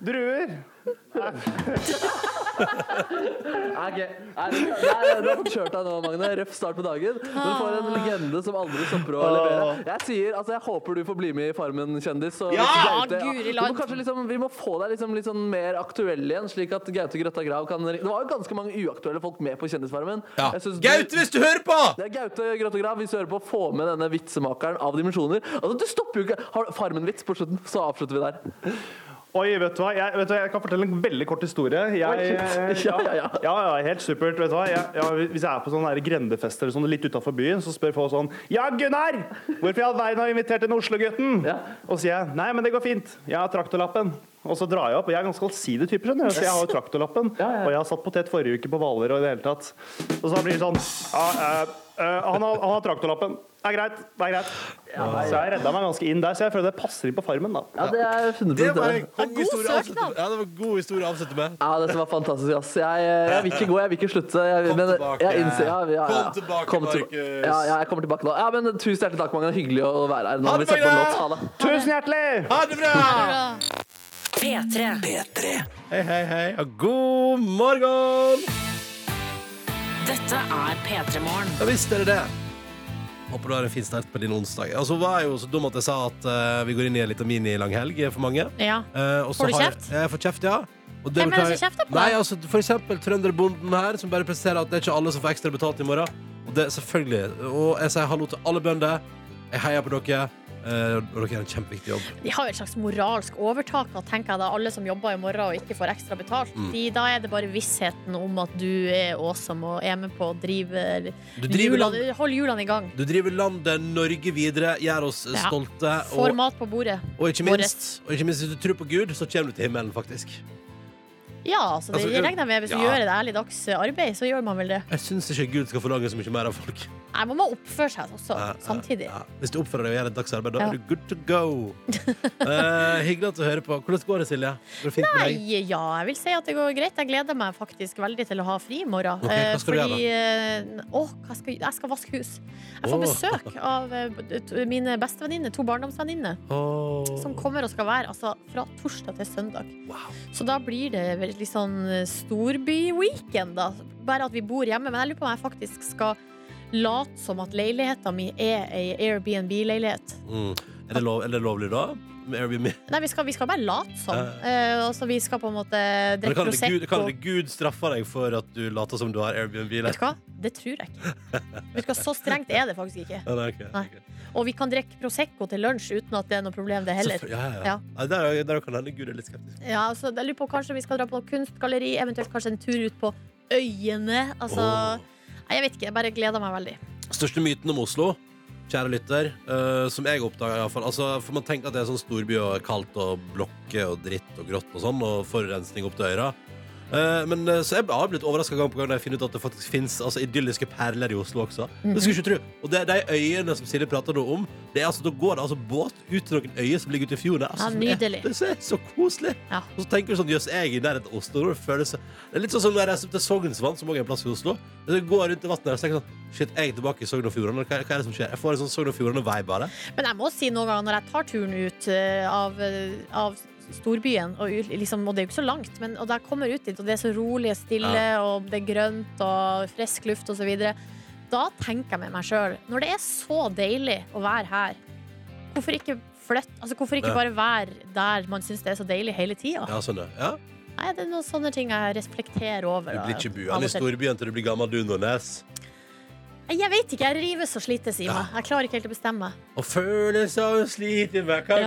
J: Druer?
F: Ok, Nei, du, nei, du har fått kjørt deg nå, Magne. Røff start på dagen. Men du får en legende som aldri stopper å levere. Jeg sier, altså jeg håper du får bli med i Farmen kjendis. Og
N: Ja,
F: Gaute-
N: guri
F: Du må
N: land.
F: kanskje liksom, vi må få deg liksom, litt sånn mer aktuell igjen, slik at Gaute Grøtta Grav kan Det var jo ganske mange uaktuelle folk med på Kjendisfarmen.
B: Ja.
F: Jeg synes
B: Gaute, hvis du hører på!
F: Det er Gaute Grøtta Grav, hvis du hører på. Få med denne vitsemakeren av dimensjoner. Altså, du stopper jo ikke Har du Farmen-vits på slutten, så avslutter vi der.
J: Oi, vet du hva? Jeg, vet du, hva? jeg kan fortelle en veldig kort historie. Jeg,
F: Oi, shit. Ja, ja, ja.
J: ja, helt supert. Vet du hva? Jeg, ja, hvis jeg er på sånne der grendefester eller sånn, litt utafor byen, så spør folk sånn Ja, Gunnar! Hvorfor i all verden har du invitert den Oslo-gutten? Og så sier jeg nei, men det går fint. Jeg har traktorlappen. Og så drar jeg opp. Og jeg er ganske allsidig type, skjønner du. Så jeg har jo traktorlappen. Og jeg har satt potet forrige uke på Hvaler og i det hele tatt. Og så blir det sånn ja, eh, eh, han, har, han har traktorlappen. Det er greit. Det er greit. Så jeg redda meg ganske inn der, så jeg føler det passer inn på Farmen, da.
F: Ja, det er 100
J: Det var en
F: det.
J: kong God historie å avslutte søknad.
B: Ja, det var god historie å avslutte med.
F: Ja, dette var fantastisk. ass. Jeg, jeg vil ikke gå, jeg vil ikke slutte. Jeg,
B: Kom
F: men,
B: tilbake.
F: Jeg innser, ja, ja, ja.
B: Kom tilbake,
F: til-
B: Markus.
F: Ja, ja, jeg kommer tilbake nå. Ja, men Tusen hjertelig takk, Magne. Hyggelig å være her. Nå
B: Ha
F: må
B: det,
F: vi sette på en
B: Magne!
F: låt. Ha det.
J: Tusen hjertelig!
B: Ha det bra!
A: P3.
B: Hei, hei, hei, og god morgen!
A: Dette er P3 Morgen.
B: Ja, visst er det det. Håper du har en fin start på din onsdag. Altså, var jeg jo så dum at jeg sa at eh, vi går inn i en liten mini-langhelg for mange.
D: Ja.
B: Eh, og så
D: Får du
B: har jeg-
D: kjeft?
B: Jeg, får kjeft, ja. Og
D: Hvem er det
B: beklager-
D: som kjefter på deg?
B: Nei, altså, for eksempel trønderbonden her, som bare presiserer at det er ikke alle som får ekstra betalt i morgen. Og det selvfølgelig. Og jeg sier hallo til alle bønder. Jeg heier på dere. eh, og dere gjør en kjempeviktig jobb.
D: De har jo et slags moralsk overtak, da, tenker jeg da. Alle som jobber i morgen og ikke får ekstra betalt.
B: Mm.
D: De, da er det bare vissheten om at du er awesome og er med på å drive
B: Du driver
D: hjulene, Hold hjulene i gang.
B: Du driver landet Norge videre, gjør oss eh,
D: Ja.
B: stolte.
D: Får
B: Og,
D: mat på bordet.
B: og, ikke minst, og ikke minst, hvis du tror på Gud, så kommer du til himmelen, faktisk.
D: Ja, altså, det
B: Altså, jo-
D: regner jeg med. Hvis du
B: ja.
D: gjør et ærlig dags arbeid, så gjør man vel det.
B: Jeg syns ikke Gud skal forlange så mye mer av folk.
D: Nei, man må oppføre seg også,
B: Ja, ja,
D: samtidig.
B: Hvis du oppfører deg og gjør et dagsarbeid, da
D: Ja.
B: er du good to go. Eh, hyggelig at du hører på. Hvordan går det, Silje? Går det fint med deg?
D: Nei, ja, jeg vil si at det går greit. Jeg gleder meg faktisk veldig til å ha fri i morgen.
B: Ok, hva
D: Eh,
B: skal du
D: fordi, eh, Åh, hva skal jeg, jeg skal vaske hus. Jeg får
B: Åh.
D: besøk av eh, b- t- mine bestevenninner, to barndomsvenninner,
B: Åh.
D: som kommer og skal være altså, fra torsdag til søndag. Så da blir det vel litt sånn eh, storby-weekend, da. Bare at vi bor hjemme. Men jeg lurer på om jeg faktisk skal late som at leiligheten min er ei Airbnb-leilighet.
B: Mm. Er, det lov, er det lovlig, da? Med Airbnb?
D: Nei, vi skal, vi skal bare late som.
B: Ja.
D: Eh, altså, vi skal på en måte
B: Men
D: drikke
B: kan det, Gud,
D: Prosecco.
B: kan det Gud straffe deg for at du later som du har Airbnb?
D: Vet du hva? Det tror jeg ikke. Vet du hva, Så strengt er det faktisk ikke.
B: Ja, nei, ok.
D: Nei. Og vi kan drikke Prosecco til lunsj uten at det er noe problem, det heller.
B: Selvfø- Ja, ja, ja.
D: Ja.
B: Nei, Der, der kan det hende Gud er litt skeptisk.
D: Ja, så jeg lurer på Kanskje vi skal dra på noe kunstgalleri, eventuelt kanskje en tur ut på Øyene. Altså, nei, Jeg vet ikke, jeg bare gleder meg veldig.
B: Største myten om Oslo, kjære lytter, eh, som jeg oppdaga iallfall altså, For man tenker at det er sånn storby og kaldt og blokker og dritt og grått og sånn, og forurensning opp til øyra. Eh, men, eh, så jeg har blitt overraska gang på gang når jeg finner ut at det faktisk fins altså, idylliske perler i Oslo også.
D: Mhm.
B: Det skulle jeg ikke tro. Og det er de øyene som Silje prater nå om. Det er, altså, da går det altså båt ut til noen øyer som ligger ute i fjorden. der, Altså,
D: Ja,
B: som er-
D: nydelig.
B: Det er så koselig. Og så tenker du sånn, jøss, jeg er i nærheten av Oslo. Det, føles, det er litt sånn som når jeg reiser opp til Sognsvann, som også er en plass i Oslo. Jeg går rundt i vannet der og tenker sånn, shit, jeg er tilbake i Sogn og Fjordane. Hva, hva er det som skjer? Jeg får en sånn Sogn og Fjordane-vibe av det.
D: Men jeg må si noen ganger når jeg tar turen ut eh, av, eh, av storbyen, og, ut- liksom, og det er jo ikke så langt, men og jeg kommer ut dit, og det er så rolig og stille, og det er grønt og frisk luft osv. Da tenker jeg med meg sjøl, når det er så deilig å være her, hvorfor ikke flytte? Altså, hvorfor
B: Ja.
D: ikke bare være der man syns det er så deilig hele tida?
B: Ja, sånn, ja.
D: Nei, det er noen sånne ting jeg reflekterer over.
B: Du
D: da,
B: blir ikke
D: av
B: buende
D: og
B: i
D: til.
B: storbyen til du blir gammel du, Nordnes.
D: Jeg vet ikke, jeg rives og slites i meg. Jeg klarer ikke helt å bestemme.
B: Og følelser og slit i meg Hva,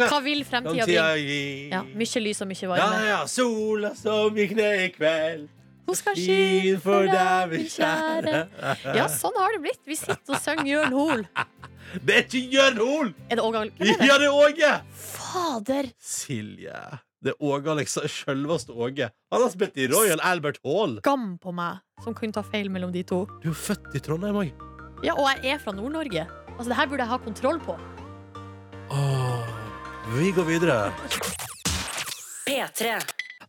D: Hva vil fremtida
B: Fremtida
D: bringe?
B: gi?
D: Ja, mye lys og mye
B: Ja,
D: varme.
B: ja, sola som gikk ned i kveld.
D: Hun skal
B: skinne for deg, min
D: kjære. Ja, sånn har det blitt. Vi sitter og synger Jørn Hoel.
B: Det er ikke Jørn Hoel!
D: Er det Åge Al- Hvem er det?
B: Ja, det er Åge!
D: Fader!
B: Silje. Det er Åge Alexa, selveste Åge. Han har spilt i Royal Albert Hall.
D: Skam på meg som kunne ta feil mellom de to.
B: Du er født i Trondheim òg.
D: Ja, og jeg er fra Nord-Norge. Altså, det her burde jeg ha kontroll på.
B: Vi går videre.
A: P3.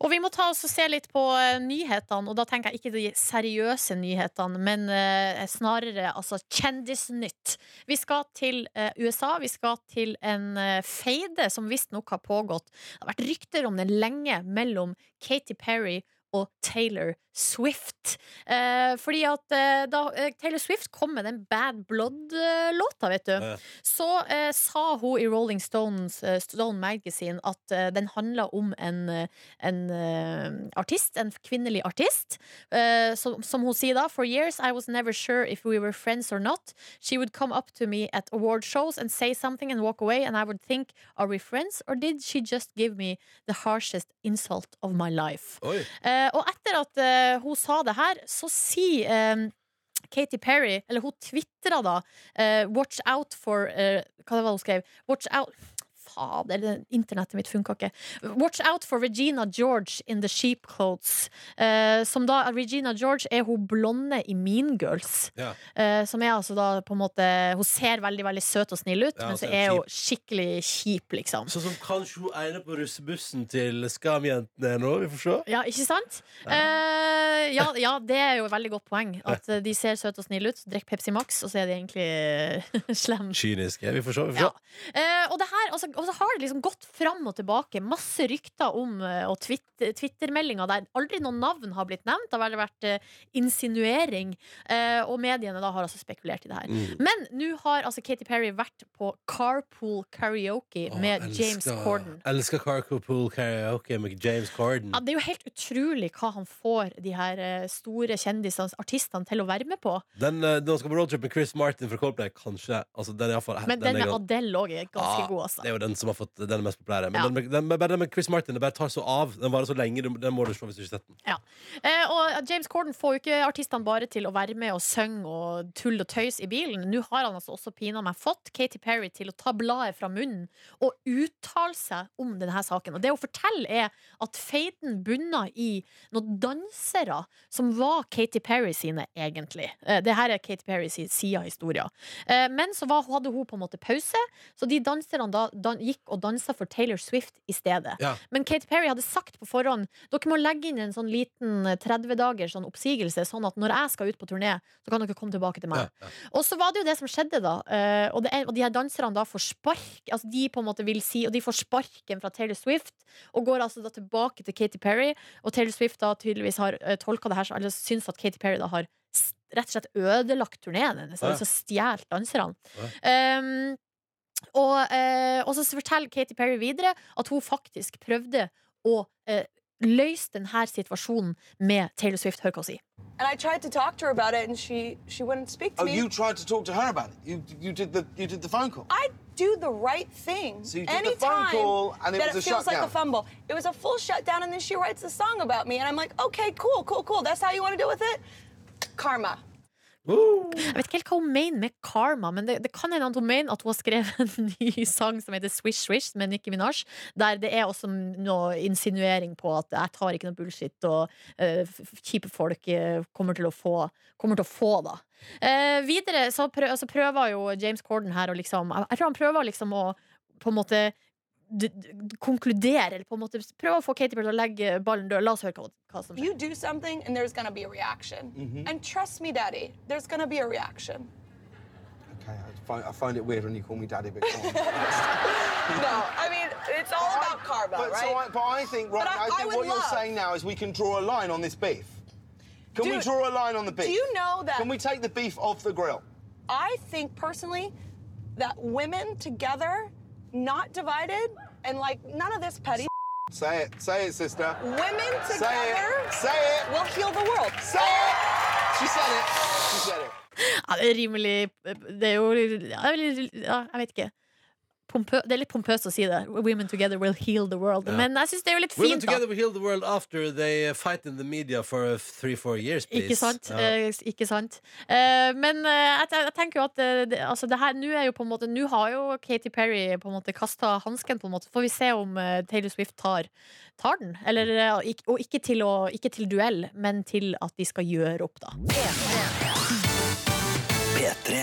D: Og vi må ta oss og se litt på eh, nyhetene, og da tenker jeg ikke de seriøse nyhetene, men eh, snarere altså kjendisnytt. Vi skal til eh, USA, vi skal til en eh, feide som visstnok har pågått. Det har vært rykter om den lenge mellom Katy Perry og Taylor Swift. Eh, fordi at eh, da eh, Taylor Swift kom med den Bad Blood-låta, vet du,
O: Ja.
D: så eh, sa hun i Rolling Stones, eh, Stone Magazine at eh, den handla om en eh, en eh, artist, en kvinnelig artist. Eh, som, som hun sier da, for years I was never sure if we were friends or not. She would come up to me at award shows and say something and walk away, and I would think, are we friends, or did she just give me the harshest insult of my life? Eh, og etter at eh, hun sa det her, så sier eh, Katy Perry, eller hun twittra da, eh, watch out for eh, Hva det var hun skrev? Watch out Fader, det- internettet mitt funka ikke. Watch out for Regina George in the sheep clothes. Eh, som da, Regina George er hun blonde i Mean Girls.
O: Ja.
D: Eh, som er altså da på en måte Hun ser veldig veldig søt og snill ut,
B: Ja,
D: men
B: altså,
D: så er hun
B: kjip.
D: skikkelig kjip, liksom.
B: Sånn som kanskje hun ene på russebussen til Skam-jentene nå. Vi får se.
D: Ja, ikke sant? Eh, ja, ja, det er jo et veldig godt poeng. At eh, de ser søte og snille ut, drikker Pepsi Max, og så er de egentlig slemme.
B: Kyniske. Vi får se. Vi får se.
D: Ja. Eh, og, det her, altså, og så har det liksom gått fram og tilbake. Masse rykter om eh, og twitt- twittermeldinger der aldri noen navn har blitt nevnt. Det har vel vært eh, insinuering. Eh, og mediene da har altså spekulert i det her.
O: Mm.
D: Men nå har altså Katy Perry vært på Carpool Karaoke med James
B: Elsker-
D: Corden.
B: Elsker Carpool Karaoke med James Corden.
D: Ja, det er jo helt utrolig hva han får de her eh, store kjendisene, artistene, til å være med på.
B: Den, eh, når han skal på roadtrip med Chris Martin fra Coldplay, kanskje altså, den, er Ah, i hvert fall,
D: Men den med
B: god.
D: Adele òg er ganske
B: Ja,
D: god, altså.
B: Det er jo den som har fått den er mest populære. Men
D: Ja.
B: den, med- den, med- den med Chris Martin det bare tar så av. Den varer så lenge. du- Den må du se hvis du ikke har sett den.
D: Ja. Eh, og James Corden får jo ikke artistene bare til å være med og synge og tulle og tøys i bilen. Nå har han altså også pina meg fått Katy Perry til å ta bladet fra munnen og uttale seg om denne saken. Og det hun forteller, er at feiden bunner i noen dansere som var Katy Perry sine, egentlig. Eh, det her er Katy Perry sin side av historien. Eh, men så var, hadde hun på en måte pause, så de danserne da, dan, gikk og dansa for Taylor Swift i stedet.
O: Ja.
D: Men Katy Perry hadde sagt på forhånd Dere må legge inn en sånn liten 30 dagers sånn oppsigelse, sånn at når jeg skal ut på turné, så kan dere komme tilbake til meg. Og så var det jo det som skjedde, da. Eh, og, det er, og de her danserne da får spark, altså de på en måte vil si Og de får sparken fra Taylor Swift, og går altså da tilbake til Katy Perry. Og Taylor Swift da tydeligvis har uh, tolka det her, så- eller syns at Katy Perry da har s- rett og slett ødelagt turneen hennes,
O: Ja.
D: altså stjålet danserne. Um, og, eh, og så forteller Katy Perry videre at hun faktisk prøvde å eh, løse denne situasjonen med Taylor Swift. Hør hva hun sier.
E: And I tried to talk to her about it, and she she wouldn't speak to
H: Oh,
E: me.
H: you tried to talk to her about it. You you did the you did the phone call.
E: I do the right thing.
H: So you did the
E: Anytime
H: phone call, and it
E: that
H: was
E: it
H: a
E: feels like a
H: shutdown.
E: fumble. It was a full shutdown, and then she writes a song about me, and I'm like, okay, cool, cool, cool. That's how you want to deal with it. Karma.
D: Jeg vet ikke helt hva hun mener med karma, men det, det kan hende at hun mener at hun har skrevet en ny sang som heter Swish Swish med Nicki Minaj, der det er også noe insinuering på at jeg tar ikke noe bullshit, og eh, f- f- kjipe folk eh, kommer til å få, kommer til å få da. Eh, videre så, prø så prøver jo James Corden her å liksom Jeg jeg tror han prøver liksom å på en måte d d konkludere, eller på en måte prøve å få Katy Perry til å legge ballen død. La oss høre hva, hva som
E: You do something,
P: Mm-hmm.
E: and there's gonna be a reaction.
H: Mhm.
E: And trust me, Daddy, there's gonna be a reaction.
P: okay. I find, I find it weird when you call me daddy, but come on.
E: No, I mean, it's all about carbo,
P: but,
E: right?
P: so I, but I think, right,
E: But I-
P: I,
E: I
P: think what
E: would
P: you're
E: love-
P: saying now is we can draw a line on this beef. Can we
E: Dude,
P: draw a line on the beef?
E: do you know that-
P: Can we take the beef off the grill?
E: I think personally that women together, not divided, and like none of this petty.
P: Say it. Say it, sister.
E: Women
P: Say
E: together
P: it. Say it.
E: will heal the world.
P: Say it. She said it. She said it.
D: Ja, det er rimelig Det er jo ja, Jeg vet ikke. Pompø, det er litt pompøst å si det. Women together will heal the world.
B: Ja.
D: Men jeg syns det er jo litt
B: Women
D: fint, da.
B: together will heal the world after they fight in the media for three-four years, please.
D: Ikke sant?
B: Ja.
D: Eh, ikke sant. Eh, men eh, jeg, te- jeg tenker jo at eh, det, altså det her, nå er jo på en måte Nå har jo Katy Perry på en måte kasta hansken, på en måte. Så får vi se om eh, Taylor Swift tar, tar den. Eller, eh, og ikk- og ikke til, å, ikke til duell, men til at de skal gjøre opp, da.
Q: P3.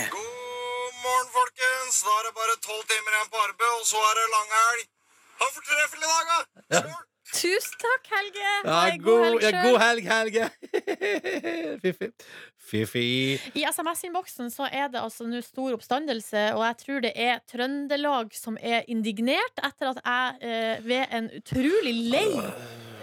J: morgen, folkens. Da er det bare tolv timer igjen på arbeid, og så er det langhelg. Ha en fortreffelig dag, da!
D: Tusen takk, Helge!
B: Ja,
D: Ha en
B: god- ja,
D: sjøl.
B: god helg, Helge. Fiffi. Fiffi.
D: I SMS-innboksen så er det altså nå stor oppstandelse, og jeg tror det er Trøndelag som er indignert etter at jeg eh, ved en utrolig lei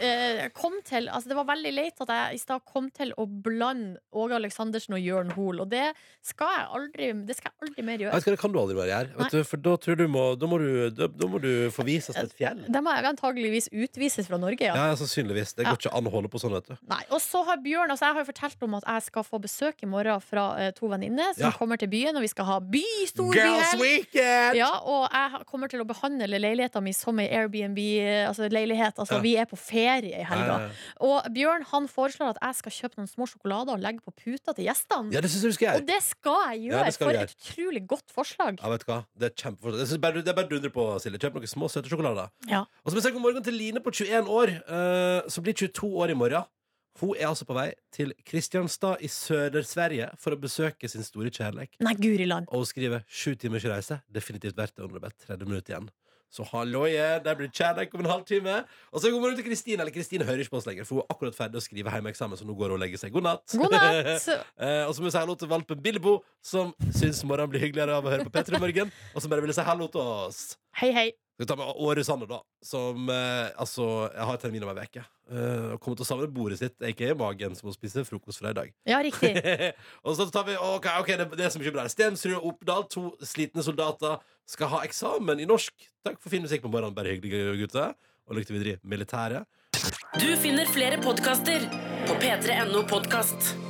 D: eh, kom til Altså, det var veldig leit at jeg i stad kom til å blande Åge Aleksandersen og Jørn Hoel, og det skal jeg aldri, det skal jeg aldri mer
B: Vet
D: gjøre.
B: du hva, det kan du aldri være her. Vet du, for da, tror du må, da, må du, da, da må du forvises til et fjell.
D: Da må jeg antageligvis utvises fra Norge, ja.
B: Ja, ja, sannsynligvis. Det går ikke an å holde på sånn, vet du.
D: Nei, og så har Bjørn, altså Jeg har jo fortalt om at jeg skal få besøk i morgen fra eh, to venninner som
B: Ja.
D: kommer til byen. Og vi skal ha by
B: Girls
D: storbyhelg!
B: weekend!
D: Ja, og jeg har- kommer til å behandle leiligheten min som ei Airbnb-leilighet. Altså, leilighet.
B: Ja.
D: altså Vi er på ferie i
B: Ja,
D: helga.
B: ja, ja.
D: Og Bjørn han foreslår at jeg skal kjøpe noen små sjokolader og legge på puta til gjestene.
B: Ja, det synes jeg du skal gjøre.
D: Og det skal jeg gjøre.
B: Ja, det skal
D: for
B: du gjøre.
D: et utrolig godt forslag.
B: Ja, vet du hva? Det er kjempeforstått. Det synes bare, det er bare å dundre på, Silje. Kjøp noen små, søte sjokolader.
D: Ja.
B: Og så besøker vi morgenen til Line på 21 år, eh, som blir 22 år i morgen. Hun er altså på vei til Kristianstad i Sør-Sverige for å besøke sin store kjærleik.
D: Nei, Guriland.
B: Og hun skriver sju timers reise. Definitivt verdt det. Hun har bare 30 minutter igjen. Så halloie, der blir det kjærleik om en halvtime. Og så god morgen til Kristine. Eller Kristine hører ikke på oss lenger, for hun er akkurat ferdig å skrive hjemmeeksamen, så nå går hun og legger seg. God natt.
Q: God natt.
B: Eh, og så må vi si hallo til valpen Bilbo, som syns morgenen blir hyggeligere av å høre på Petter i morgen, og som bare ville si hallo til oss.
D: Hei, hei.
B: Skal vi ta med Åre Sanne, da, som eh, altså Jeg har termin om ei uke. Eh, og kommer til å savne bordet sitt, aka magen, som hun spiser frokost fra i dag.
D: Ja, riktig.
B: og så tar vi Ok, ok, det, det er så mye bra. Stensrud og Oppdal, to slitne soldater, skal ha eksamen i norsk. Takk for fin musikk på morgenen, bare hyggelig, gutter. Og lykke til videre i militæret.
A: Du finner flere podkaster på p3.no podkast.